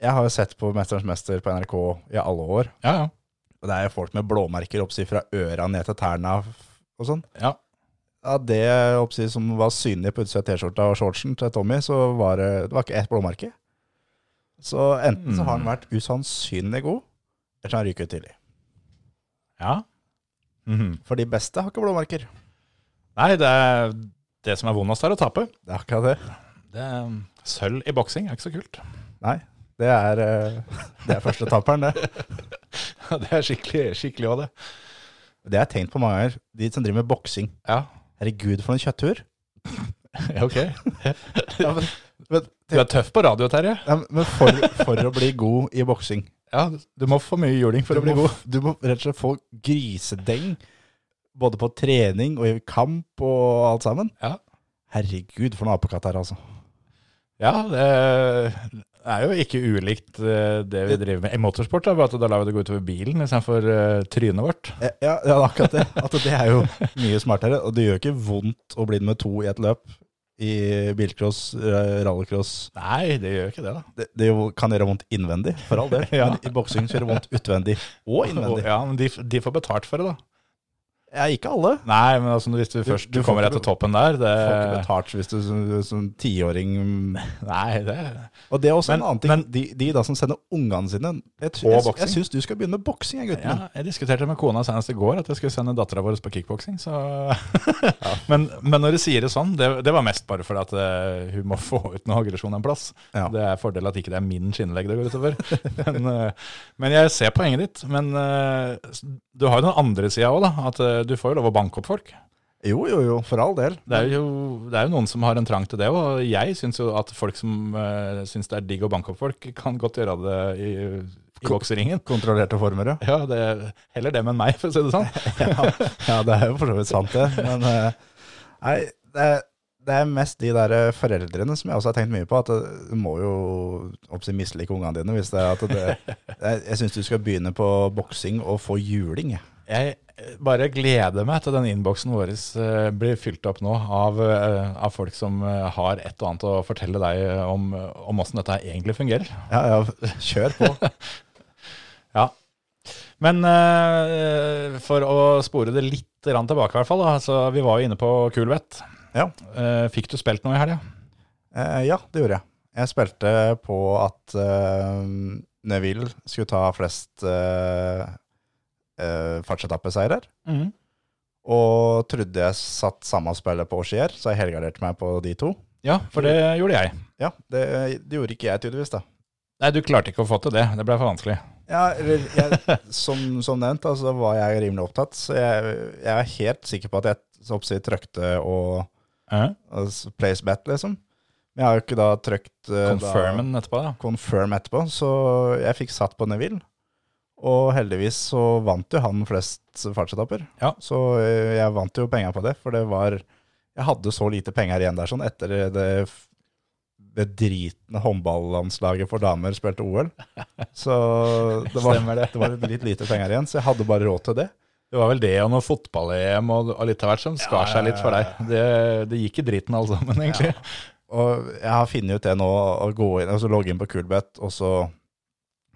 E: Jeg har jo sett på Mesterens mester på NRK i alle år.
A: Ja, ja.
E: Og det er jo folk med blåmerker oppsi fra øra ned til tærne f- og sånn.
A: Ja.
E: Av det oppsi som var synlig på utsida av T-skjorta og shortsen til Tommy, så var det, det var ikke ett blåmerke. Så enten så har han vært usannsynlig god, eller så har han ryket ut tidlig.
A: ja.
E: For de beste har ikke blåmerker.
A: Nei, det, er det som er vondest, er å tape.
E: Det er akkurat det.
A: Det er, um, sølv i boksing er ikke så kult.
E: Nei, det er, eh, det er første taperen, det.
A: Det er skikkelig, skikkelig òg, det.
E: Det har jeg tenkt på mange ganger. De som driver med boksing.
A: Ja,
E: Herregud, for noen kjøttur.
A: ja, ok.
E: Ja, men, men,
A: Du er tøff på radio, Terje.
E: ja, men for, for å bli god i boksing
A: Ja, Du må få mye juling for
E: du må, Du må rett og slett få grisedeng, både på trening og i kamp og alt sammen.
A: Ja,
E: Herregud, for noen apekatt her, altså.
A: ja det, Det er jo ikke ulikt eh, det vi driver med i motorsport, da, bare at da lar vi det gå utover bilen istedenfor uh, trynet vårt.
E: Ja, ja, det er akkurat det. At det er jo mye smartere. Og det gjør ikke vondt å bli nummer to i et løp i bilcross, eh, rallycross.
A: Nei, det gjør jo ikke det, da.
E: Det, det jo- kan gjøre vondt innvendig, for all del.
A: Ja.
E: Men i boksing så gjør det vondt utvendig og innvendig.
A: Ja, men de, de får betalt for det, da.
E: Ja, ikke alle.
A: Nei, men altså, hvis du først
E: du
A: du
E: får
A: kommer deg
E: ikke
A: til toppen der det,
E: Får ikke betalt hvis du som- som tiåring
A: Nei, det
E: Og det er også
A: Men-
E: en annen ting.
A: men-
E: de, de da som sender ungene sine Jeg,
A: Og
E: jeg,
A: boksing.
E: jeg syns du skal begynne med boksing, jeg, gutten
A: ja,
E: min.
A: Jeg diskuterte med kona senest i går at jeg skulle sende dattera vår på kickboksing. Så. men, men når du sier det sånn, det, det var mest bare fordi at eh, hun må få ut noe aggresjon en plass.
E: Ja.
A: Det er fordel at ikke det er min skinnlegg det går utover. men, eh, men jeg ser poenget ditt. Men eh, du har jo den andre sida òg, da. At eh, du får jo lov å banke opp folk.
E: Jo, jo, jo, for all del.
A: Det er, jo, det er jo noen som har en trang til det, og jeg syns jo at folk som uh, syns det er digg å banke opp folk, kan godt gjøre det i, i bokseringen.
E: Kontrollerte former, ja.
A: Ja, det, heller dem enn meg, for å si det sånn.
E: ja, ja, det er jo for så vidt sant, det. Men eh, nei, det, er- det er mest de der eh, foreldrene som jeg også har tenkt mye på. At eh, du må jo oppsi mislike ungene dine. Hvis det er at det, jeg jeg syns du skal begynne på boksing og få juling. jeg.
A: Jeg eh, bare gleder meg til den innboksen vår eh, blir fylt opp nå av, eh, av folk som eh, har et og annet å fortelle deg eh, om om åssen dette her egentlig fungerer.
E: Ja, ja, kjør på.
A: Ja. Men eh, for å spore det litt grann tilbake, i hvert fall. Da. Altså, vi var jo inne på Kulvett.
E: Ja.
A: Eh, fikk du spilt noe i helga?
E: Eh, ja, det gjorde jeg. Jeg spilte på at eh, Neville skulle ta flest uh, fartsetappeseirer.
A: Mhm.
E: Og trodde jeg satt samme spillet på Auxier, så jeg helgarderte meg på de to.
A: Ja, for det gjorde jeg.
E: Ja, det, det gjorde ikke jeg tydeligvis, da.
A: Nei, du klarte ikke å få til det. Det ble for vanskelig.
E: Ja, eller jeg, som, som nevnt, altså var jeg rimelig opptatt, så jeg, jeg er helt sikker på at jeg så å si trøkte og,
A: Uh,
E: og s- place bet, liksom. Men jeg har jo ikke da trøkt eh, da,
A: Confirmen etterpå, da.
E: confirm etterpå, så jeg fikk satt på Neville. Og heldigvis så vant jo han flest fartsetapper.
A: Ja.
E: Så eh, jeg vant jo penger på det, for det var Jeg hadde så lite penger igjen der sånn etter det f- bedritne håndballandslaget for damer spilte OL. Så det var,
A: Stemmer
E: det var litt lite penger igjen, så jeg hadde bare råd til det.
A: Det var vel det og noe fotball-EM og, og litt av hvert som skar seg litt for deg. Det, det gikk i driten alle sammen, egentlig.
E: Og jeg har funnet ut det nå, å gå inn, altså logge inn på Coolbet og så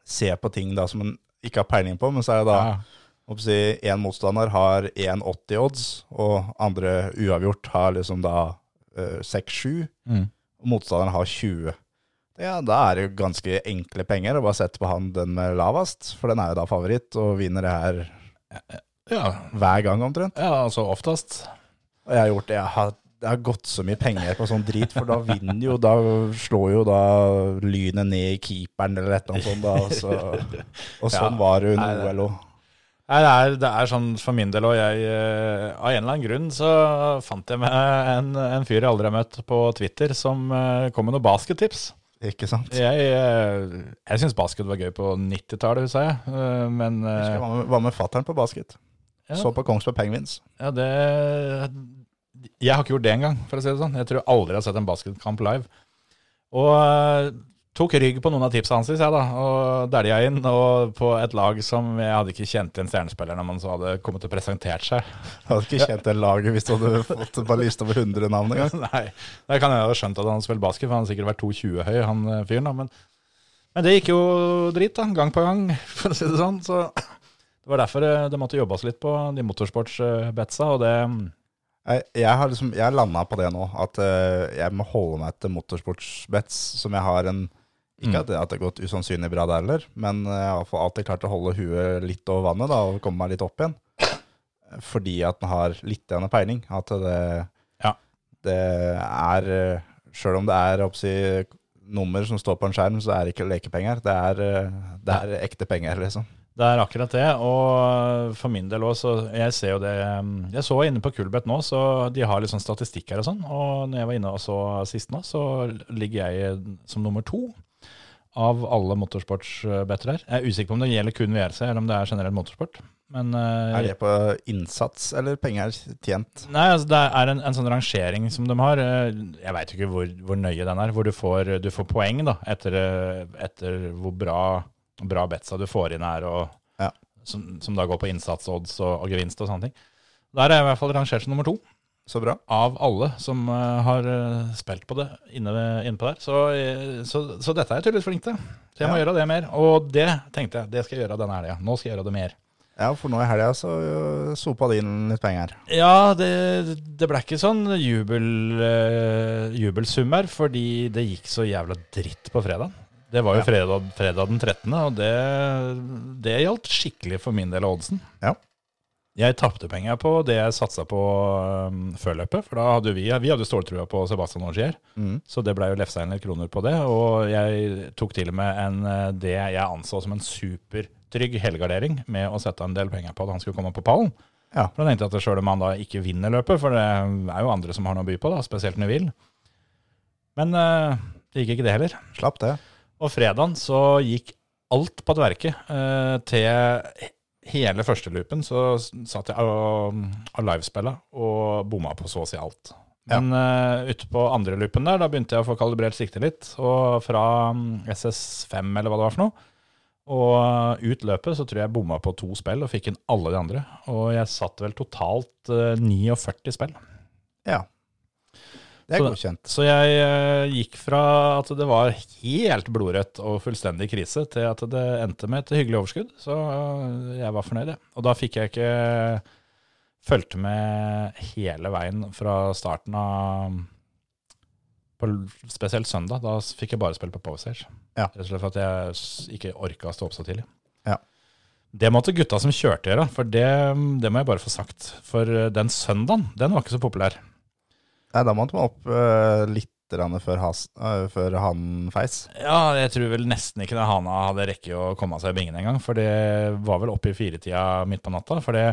E: se på ting da som en ikke har peiling på, men så er det da
A: Ja.
E: Hva skal jeg si, en motstander har 1,80 odds, og andre uavgjort har liksom da eh, 6-7,
A: Mm.
E: og motstanderen har 20. Ja, da er det jo ganske enkle penger å bare sette på han den med lavest, for den er jo da favoritt, og vinner det her
A: Ja.
E: hver gang omtrent.
A: ja, altså oftest.
E: Og jeg har gjort det, jeg har, det har gått så mye penger på sånn drit, for da vinner jo, da slår jo da lynet ned i keeperen eller et eller annet sånt da, og, så, og sånn
A: Ja.
E: var det
A: Nei, det-
E: under OL også.
A: Nei, Det er, det er sånn for min del, og jeg eh, av en eller annen grunn så fant jeg meg en, en fyr jeg aldri har møtt på Twitter, som eh, kom med noen baskettips.
E: Ikke sant?
A: Jeg, eh, jeg syns basket var gøy på 90-tallet, husker jeg, eh, men eh,
E: Jeg var med, var med fatteren på basket.
A: Ja.
E: Så på Kongsberg Penguins.
A: Ja, det Jeg har ikke gjort det engang, for å si det sånn. Jeg tror jeg aldri jeg har sett en basketkamp live. Og eh, tok rygg på noen av tipsa hans, jeg, da, og dælja inn. Og på et lag som jeg hadde ikke kjent igjen stjernespillerne, men så hadde kommet og presentert seg.
E: Jeg hadde ikke kjent det laget hvis du hadde fått en liste over 100 navn engang.
A: Nei, det kan jeg ha skjønt at han spilte basket, for han har sikkert vært 2,20 høy, han eh, fyren. da, men, men det gikk jo drit, da, gang på gang, for å si det sånn. Så det var derfor eh, det måtte jobbes litt på de motorsportsbetsa, og det mm,
E: Jeg, jeg har liksom, jeg landa på det nå, at eh, jeg må holde meg til motorsportsbets, som jeg har en Ikke at det at det har gått usannsynlig bra der heller, men eh, jeg har i hvert fall alltid klart å holde huet litt over vannet da, og komme meg litt opp igjen. Fordi at den har litt grann peiling. At det,
A: Ja.
E: det er Sjøl om det er oppsi, nummer som står på en skjerm, så er det ikke lekepenger. Det er, eh, det er ekte penger, liksom.
A: Det er akkurat det, og for min del òg, så jeg ser jo det um, Jeg så inne på Kulbeth nå, så de har litt sånn statistikk her og sånn. Og når jeg var inne og så sist nå, så ligger jeg som nummer to av alle motorsportsbettere. Jeg er usikker på om det gjelder kun VRC, eller om det er generell motorsport. Men eh,
E: Er det på innsats eller penger tjent?
A: Nei, altså det er en, en sånn rangering som de har. eh, Jeg veit ikke hvor, hvor nøye den er. Hvor du får, du får poeng da, etter, eh, etter hvor bra, bra betsa du får inn her, og,
E: Ja.
A: som, som da går på innsatsodds og, og gevinst og sånne ting. Der er jeg i hvert fall rangert som nummer to
E: Så bra.
A: av alle som eh, har eh, spilt på det inne, ved- inne på der. Så, eh, så, så dette er jeg tydeligvis flink til. Så jeg må
E: Ja.
A: gjøre det mer. Og det tenkte jeg, det skal jeg gjøre denne helga. Nå skal jeg gjøre det mer.
E: Ja, for nå i helga så øh, sopa det inn litt penger.
A: Ja, det, det ble ikke sånn jubel, eh, jubelsummer, fordi det gikk så jævla dritt på fredagen. Det var jo
E: Ja.
A: fredag, fredag den 13., og det, det gjaldt skikkelig for min del av oddsen.
E: Ja.
A: Jeg tapte penger på det jeg satsa på um, før løpet, for da hadde vi, vi hadde ståltrua på Sebastian Augier,
E: Mm.
A: så det ble jo lefsa inn litt kroner på det, og jeg tok til og med en, eh, det jeg anså som en supertrygg helgardering med å sette en del penger på at han skulle komme på pallen.
E: Ja.
A: For da tenkte jeg at selv om han da ikke vinner løpet, for det er jo andre som har noe å by på, da, spesielt Neville. Men eh, det gikk ikke det heller.
E: Slapp det.
A: Og fredagen så gikk alt på tverke. eh, til hele første loopen så s- satt jeg og, mm, og livespilla og bomma på så å si alt. Men eh, ute på andre loopen der, da begynte jeg å få kalibrert siktet litt. Og fra mm, SS5 eller hva det var for noe, og eh, ut løpet så tror jeg jeg bomma på to spill og fikk inn alle de andre. Og jeg satt vel totalt eh, 49 spill.
E: Ja. Det er
A: Så-
E: godkjent.
A: Så jeg eh, gikk fra at det var helt blodrødt og fullstendig krise, til at det endte med et hyggelig overskudd. Så eh, jeg var fornøyd, jeg. Og da fikk jeg ikke fulgt med hele veien fra starten av på l- Spesielt søndag. Da s- fikk jeg bare spille på Powerstage.
E: Ja.
A: Rett og slett for at jeg s- ikke orka å stå opp så tidlig.
E: Ja.
A: Det måtte gutta som kjørte gjøre, for det, det må jeg bare få sagt. For eh, den søndagen, den var ikke så populær.
E: Nei, da måtte man opp øh, litt grann før, has, øh, før han feis.
A: Ja, jeg tror vel nesten ikke det Hana hadde rekke å komme seg i bingen engang. For det var vel oppe i firetida midt på natta. For det,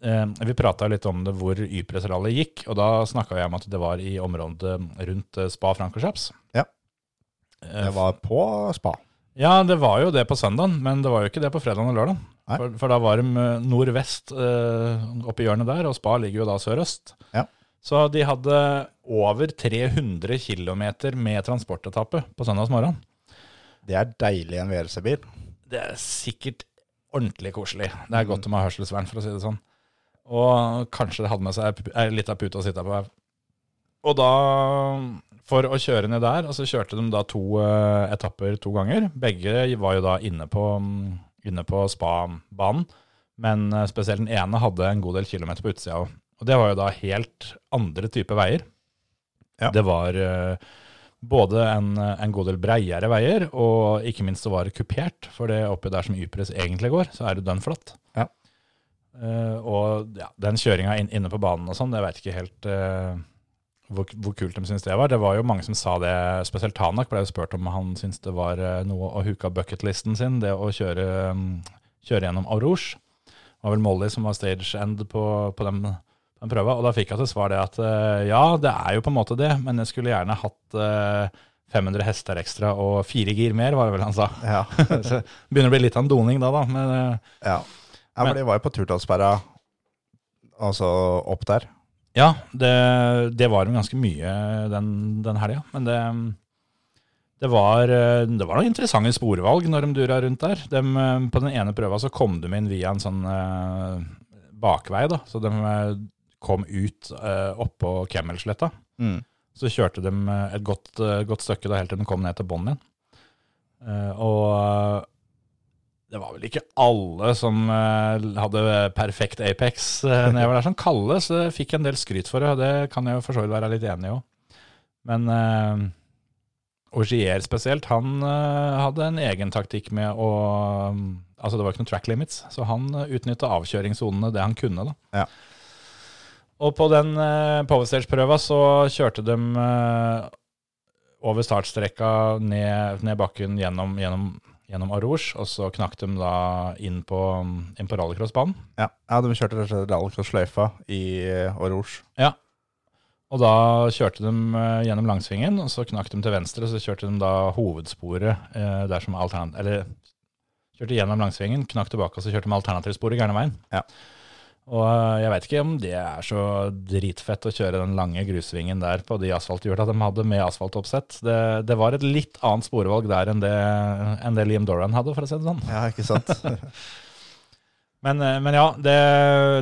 A: eh, vi prata litt om det hvor Ypres-rallyet gikk, og da snakka jeg om at det var i området rundt eh, Spa Francorchaps.
E: Ja.
A: Eh,
E: Det var på spa.
A: ja, det var jo det på søndagen, men det var jo ikke det på fredagen og lørdagen.
E: Nei.
A: For, for da var de eh, nordvest eh, oppi hjørnet der, og Spa ligger jo da sørøst.
E: Ja.
A: Så de hadde over 300 km med transportetappe på søndagsmorgen.
E: Det er deilig i en VRC-bil.
A: Det er sikkert ordentlig koselig. Det er godt å ha hørselsvern, for å si det sånn. Og kanskje det hadde med seg ei lita pute å sitte på. her. Og da, for å kjøre ned der, og så kjørte de da to eh, etapper to ganger. Begge var jo da inne på, mm, inne på spa-banen, men eh, spesielt den ene hadde en god del kilometer på utsida òg. Og det var jo da helt andre typer veier.
E: Ja.
A: Det var eh, både en, en god del breiere veier, og ikke minst så var det kupert, for det oppi der som Ypres egentlig går, så er det dønn flatt.
E: Ja.
A: Eh, og ja, den kjøringa inn, inne på banen og sånn, jeg veit ikke helt eh, hvor, hvor kult de syntes det var. Det var jo mange som sa det, spesielt Tanak ble jo spurt om han syntes det var eh, noe å huke av bucketlisten sin, det å kjøre, mm, kjøre gjennom Aurouge. Det var vel Molly som var stage end på, på den, den prøva, og da fikk jeg til svar det at eh, ja, det er jo på en måte det, men jeg skulle gjerne hatt eh, 500 hester ekstra og fire gir mer, var det vel han sa.
E: Ja.
A: Så begynner å bli litt av en doning da, da. Men, eh,
E: ja. ja
A: Men-
E: men de var jo på Turdalsberga, altså opp der.
A: Ja, det, det var jo ganske mye den, den helga. Men det, det, var, eh, det var noen interessante sporvalg når de dura rundt der. Dem, eh, på den ene prøva så kom de inn via en sånn eh, bakvei, da. Så de eh, kom ut eh, oppå Kemmelsletta.
E: Mm.
A: Så kjørte de eh, et godt, eh, godt stykke da, helt til de kom ned til bånn igjen. Eh, og eh, det var vel ikke alle som eh, hadde perfekt Apex eh, nedover der. Sånn Kalle så fikk en del skryt for det, og det kan jeg jo for så vidt være litt enig i òg. Men eh, Augier spesielt, han eh, hadde en egen taktikk med å Altså, det var ikke noen track limits, så han utnytta avkjøringssonene det han kunne, da. Og på den eh, Powerstage-prøva så kjørte de eh, over startstrekka ned, ned bakken gjennom, gjennom, gjennom Arouge, og så knakk de da inn på, inn på rallycrossbanen.
E: Ja. ja, de kjørte rett og slett rallycross-sløyfa i eh, Orange.
A: Ja. Og da kjørte de eh, gjennom langsvingen, og så knakk de til venstre, og så kjørte de da hovedsporet eh, der som altern... Eller Kjørte gjennom langsvingen, knakk tilbake, og så kjørte vi alternativsporet gærne veien.
E: Ja.
A: Og øh, jeg veit ikke om det er så dritfett å kjøre den lange grussvingen der på de asfalthjula de hadde med asfaltoppsett. Det, det var et litt annet sporvalg der enn det, enn det Liam Doran hadde, for å si det sånn.
E: Ja, ikke sant?
A: Men, eh, men ja, det,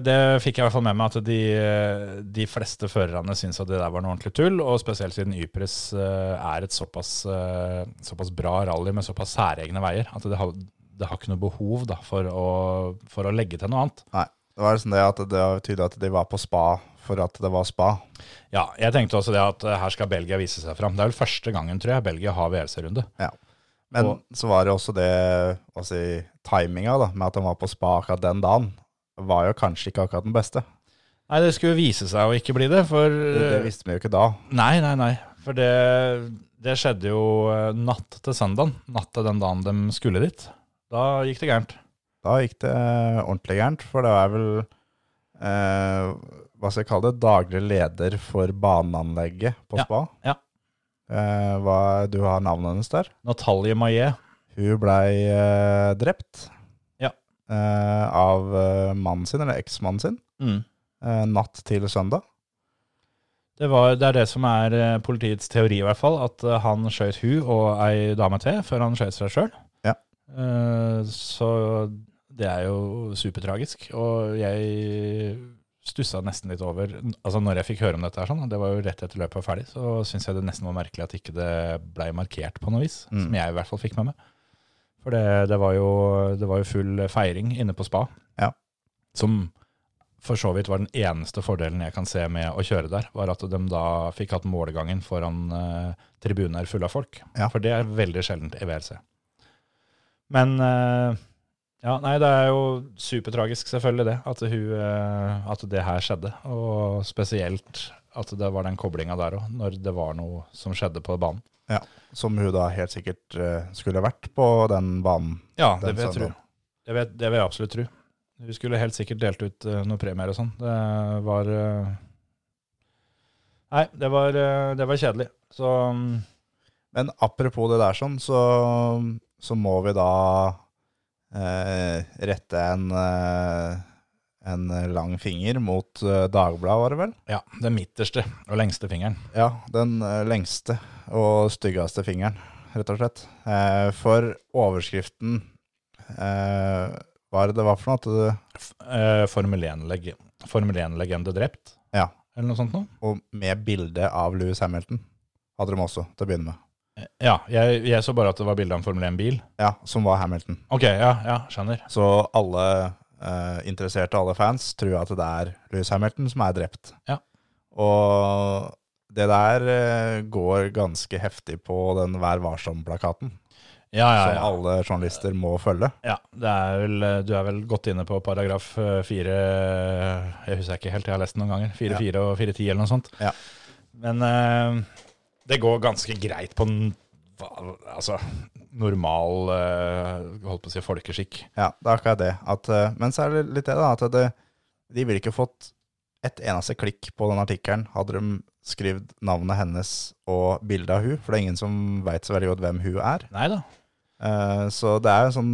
A: det fikk jeg i hvert fall med meg at de, eh, de fleste førerne syntes at det der var noe ordentlig tull, og spesielt siden Ypres eh, er et såpass, eh, såpass bra rally med såpass særegne veier, at det har, det har ikke noe behov da, for, å, for å legge til noe annet.
E: Nei. Det var liksom det at det var tydelig at de var på spa for at det var spa.
A: Ja, jeg tenkte også det at eh, her skal Belgia vise seg fram. Det er vel første gangen, tror jeg, Belgia har VLC-runde.
E: Ja. Men
A: Og-
E: så var det også det hva si, timinga da, med at han var på spa akkurat den dagen, var jo kanskje ikke akkurat den beste.
A: Nei, det skulle vise seg å ikke bli det, for
E: Det, det visste vi jo ikke da.
A: Nei, nei, nei. For det, det skjedde jo eh, natt til søndagen. Natt til den dagen de skulle dit. Da gikk det gærent.
E: Da gikk det eh, ordentlig gærent, for det er vel eh, Hva skal jeg kalle det? Daglig leder for baneanlegget på
A: Ja,
E: spa.
A: ja.
E: Eh, hva, du har navnet hennes der.
A: Natalie Maillet.
E: Hun blei eh, drept
A: Ja.
E: eh, av eh, mannen sin, eller eksmannen sin, eh, natt til søndag.
A: Det, var, det er det som er eh, politiets teori, i hvert fall. At eh, han skjøt hun og ei dame til før han skjøt seg sjøl.
E: Ja.
A: Så det er jo supertragisk. Og jeg stussa nesten litt over Altså når jeg fikk høre om dette, her sånn, og det var jo rett etter løpet var ferdig, så syns jeg det nesten var merkelig at ikke det blei markert på noe vis.
E: Mm.
A: Som jeg i hvert fall fikk med meg. For det, det, var jo, det var jo full feiring inne på spa.
E: Ja.
A: Som for så vidt var den eneste fordelen jeg kan se med å kjøre der, var at de da fikk hatt målgangen foran eh, tribuner fulle av folk.
E: Ja.
A: For det er veldig sjeldent i VLC. Men eh, ja, nei, det er jo supertragisk selvfølgelig det, at, hun, eh, at det her skjedde. Og spesielt at det var den koblinga der òg, når det var noe som skjedde på banen.
E: Som hun da helt sikkert eh, skulle vært på den banen.
A: Ja, det
E: Den
A: vil jeg tro.
E: søndagen.
A: Det vil, det vil jeg absolutt tro. Vi skulle helt sikkert delt ut eh, noen premier og sånn. Det var eh, Nei, det var, eh, det var kjedelig. Så mm,
E: Men apropos det der sånn, så, så må vi da eh, rette en, eh, en lang finger mot eh, Dagbladet, var det vel?
A: ja, den midterste og lengste fingeren.
E: Ja, den eh, lengste og styggeste fingeren, rett og slett. Eh, for overskriften eh, Hva er det det var for noe? At det,
A: F- eh, Formel 1-legende Formel 1-legende drept,
E: ja,
A: eller noe sånt noe?
E: og med bilde av Louis Hamilton hadde de også, til å begynne med.
A: Eh, Ja, jeg, jeg så bare at det var bilde av en Formel 1-bil.
E: Ja, som var Hamilton.
A: Ok, ja, ja, skjønner.
E: Så alle eh, interesserte, alle fans, tror at det er Louis Hamilton som er drept.
A: Ja.
E: Og det der eh, går ganske heftig på den Vær varsom-plakaten,
A: Ja, ja,
E: som
A: ja.
E: alle journalister må følge.
A: Ja, det er vel, eh, du er vel godt inne på paragraf eh, fire eh, Jeg husker ikke helt, jeg har lest den noen ganger. Fire,
E: Ja.
A: fire og fire, ti eller noe sånt.
E: Ja.
A: Men eh, det går ganske greit på den hva- altså, normal eh, holdt på å si folkeskikk.
E: Ja, det er akkurat det. At, eh, men så er det litt det, da. At det, de ville ikke fått et eneste klikk på den artikkelen hadde de skrevet navnet hennes og bildet av hun, for det er ingen som veit så veldig godt hvem hun er.
A: Nei da.
E: Eh, Så det er jo sånn,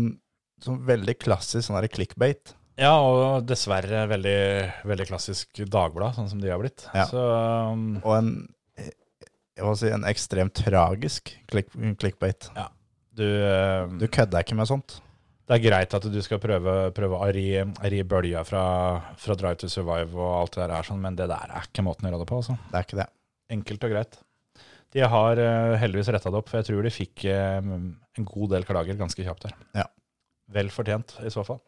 E: sånn veldig klassisk sånn der clickbait.
A: Ja, og dessverre veldig, veldig klassisk Dagblad, sånn som de har blitt.
E: Ja.
A: Så um,
E: Og en, eh, jeg må si, en ekstremt tragisk click, clickbait.
A: du, eh,
E: Du kødder ikke med sånt.
A: Det er greit at du skal prøve, prøve å ri, ri bølja fra, fra Drive to Survive og alt det der, er sånn, men det der er ikke måten å gjøre det på, altså.
E: Det er ikke det.
A: Enkelt og greit. De har eh, heldigvis retta det opp, for jeg tror de fikk eh, en god del klager ganske kjapt der.
E: Ja.
A: Vel fortjent, i så fall.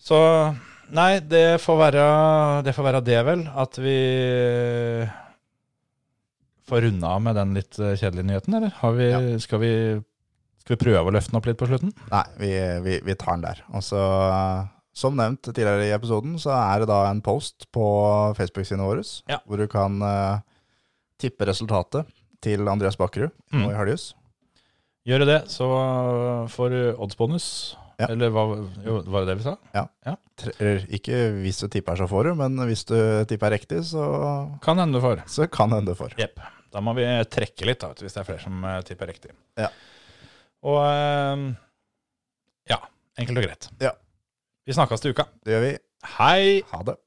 A: Så Nei, det får være det, får være det vel. At vi får runde av med den litt eh, kjedelige nyheten, eller? Har vi, skal, vi, skal vi prøve å løfte den opp litt på slutten?
E: Nei, vi, vi, vi tar den der. Og så, eh, som nevnt tidligere i episoden, så er det da en post på Facebook-siden vår,
A: Ja.
E: hvor du kan eh, tippe resultatet til Andreas Bakkerud
A: Mm.
E: nå i Helghus.
A: Gjør du det, så får du oddsbonus.
E: Ja.
A: Eller hva jo, var det det vi sa?
E: Tre- eller Ikke hvis du tipper, så får du, men hvis du tipper riktig, så,
A: Kan hende du får.
E: så kan hende du får.
A: Jepp. Da må vi trekke litt, da, vet du, hvis det er flere som eh, tipper riktig.
E: Ja.
A: Og eh,
E: Ja, enkelt og greit.
A: Ja.
E: Vi snakkes til uka.
A: Det gjør vi.
E: Hei!
A: Ha det.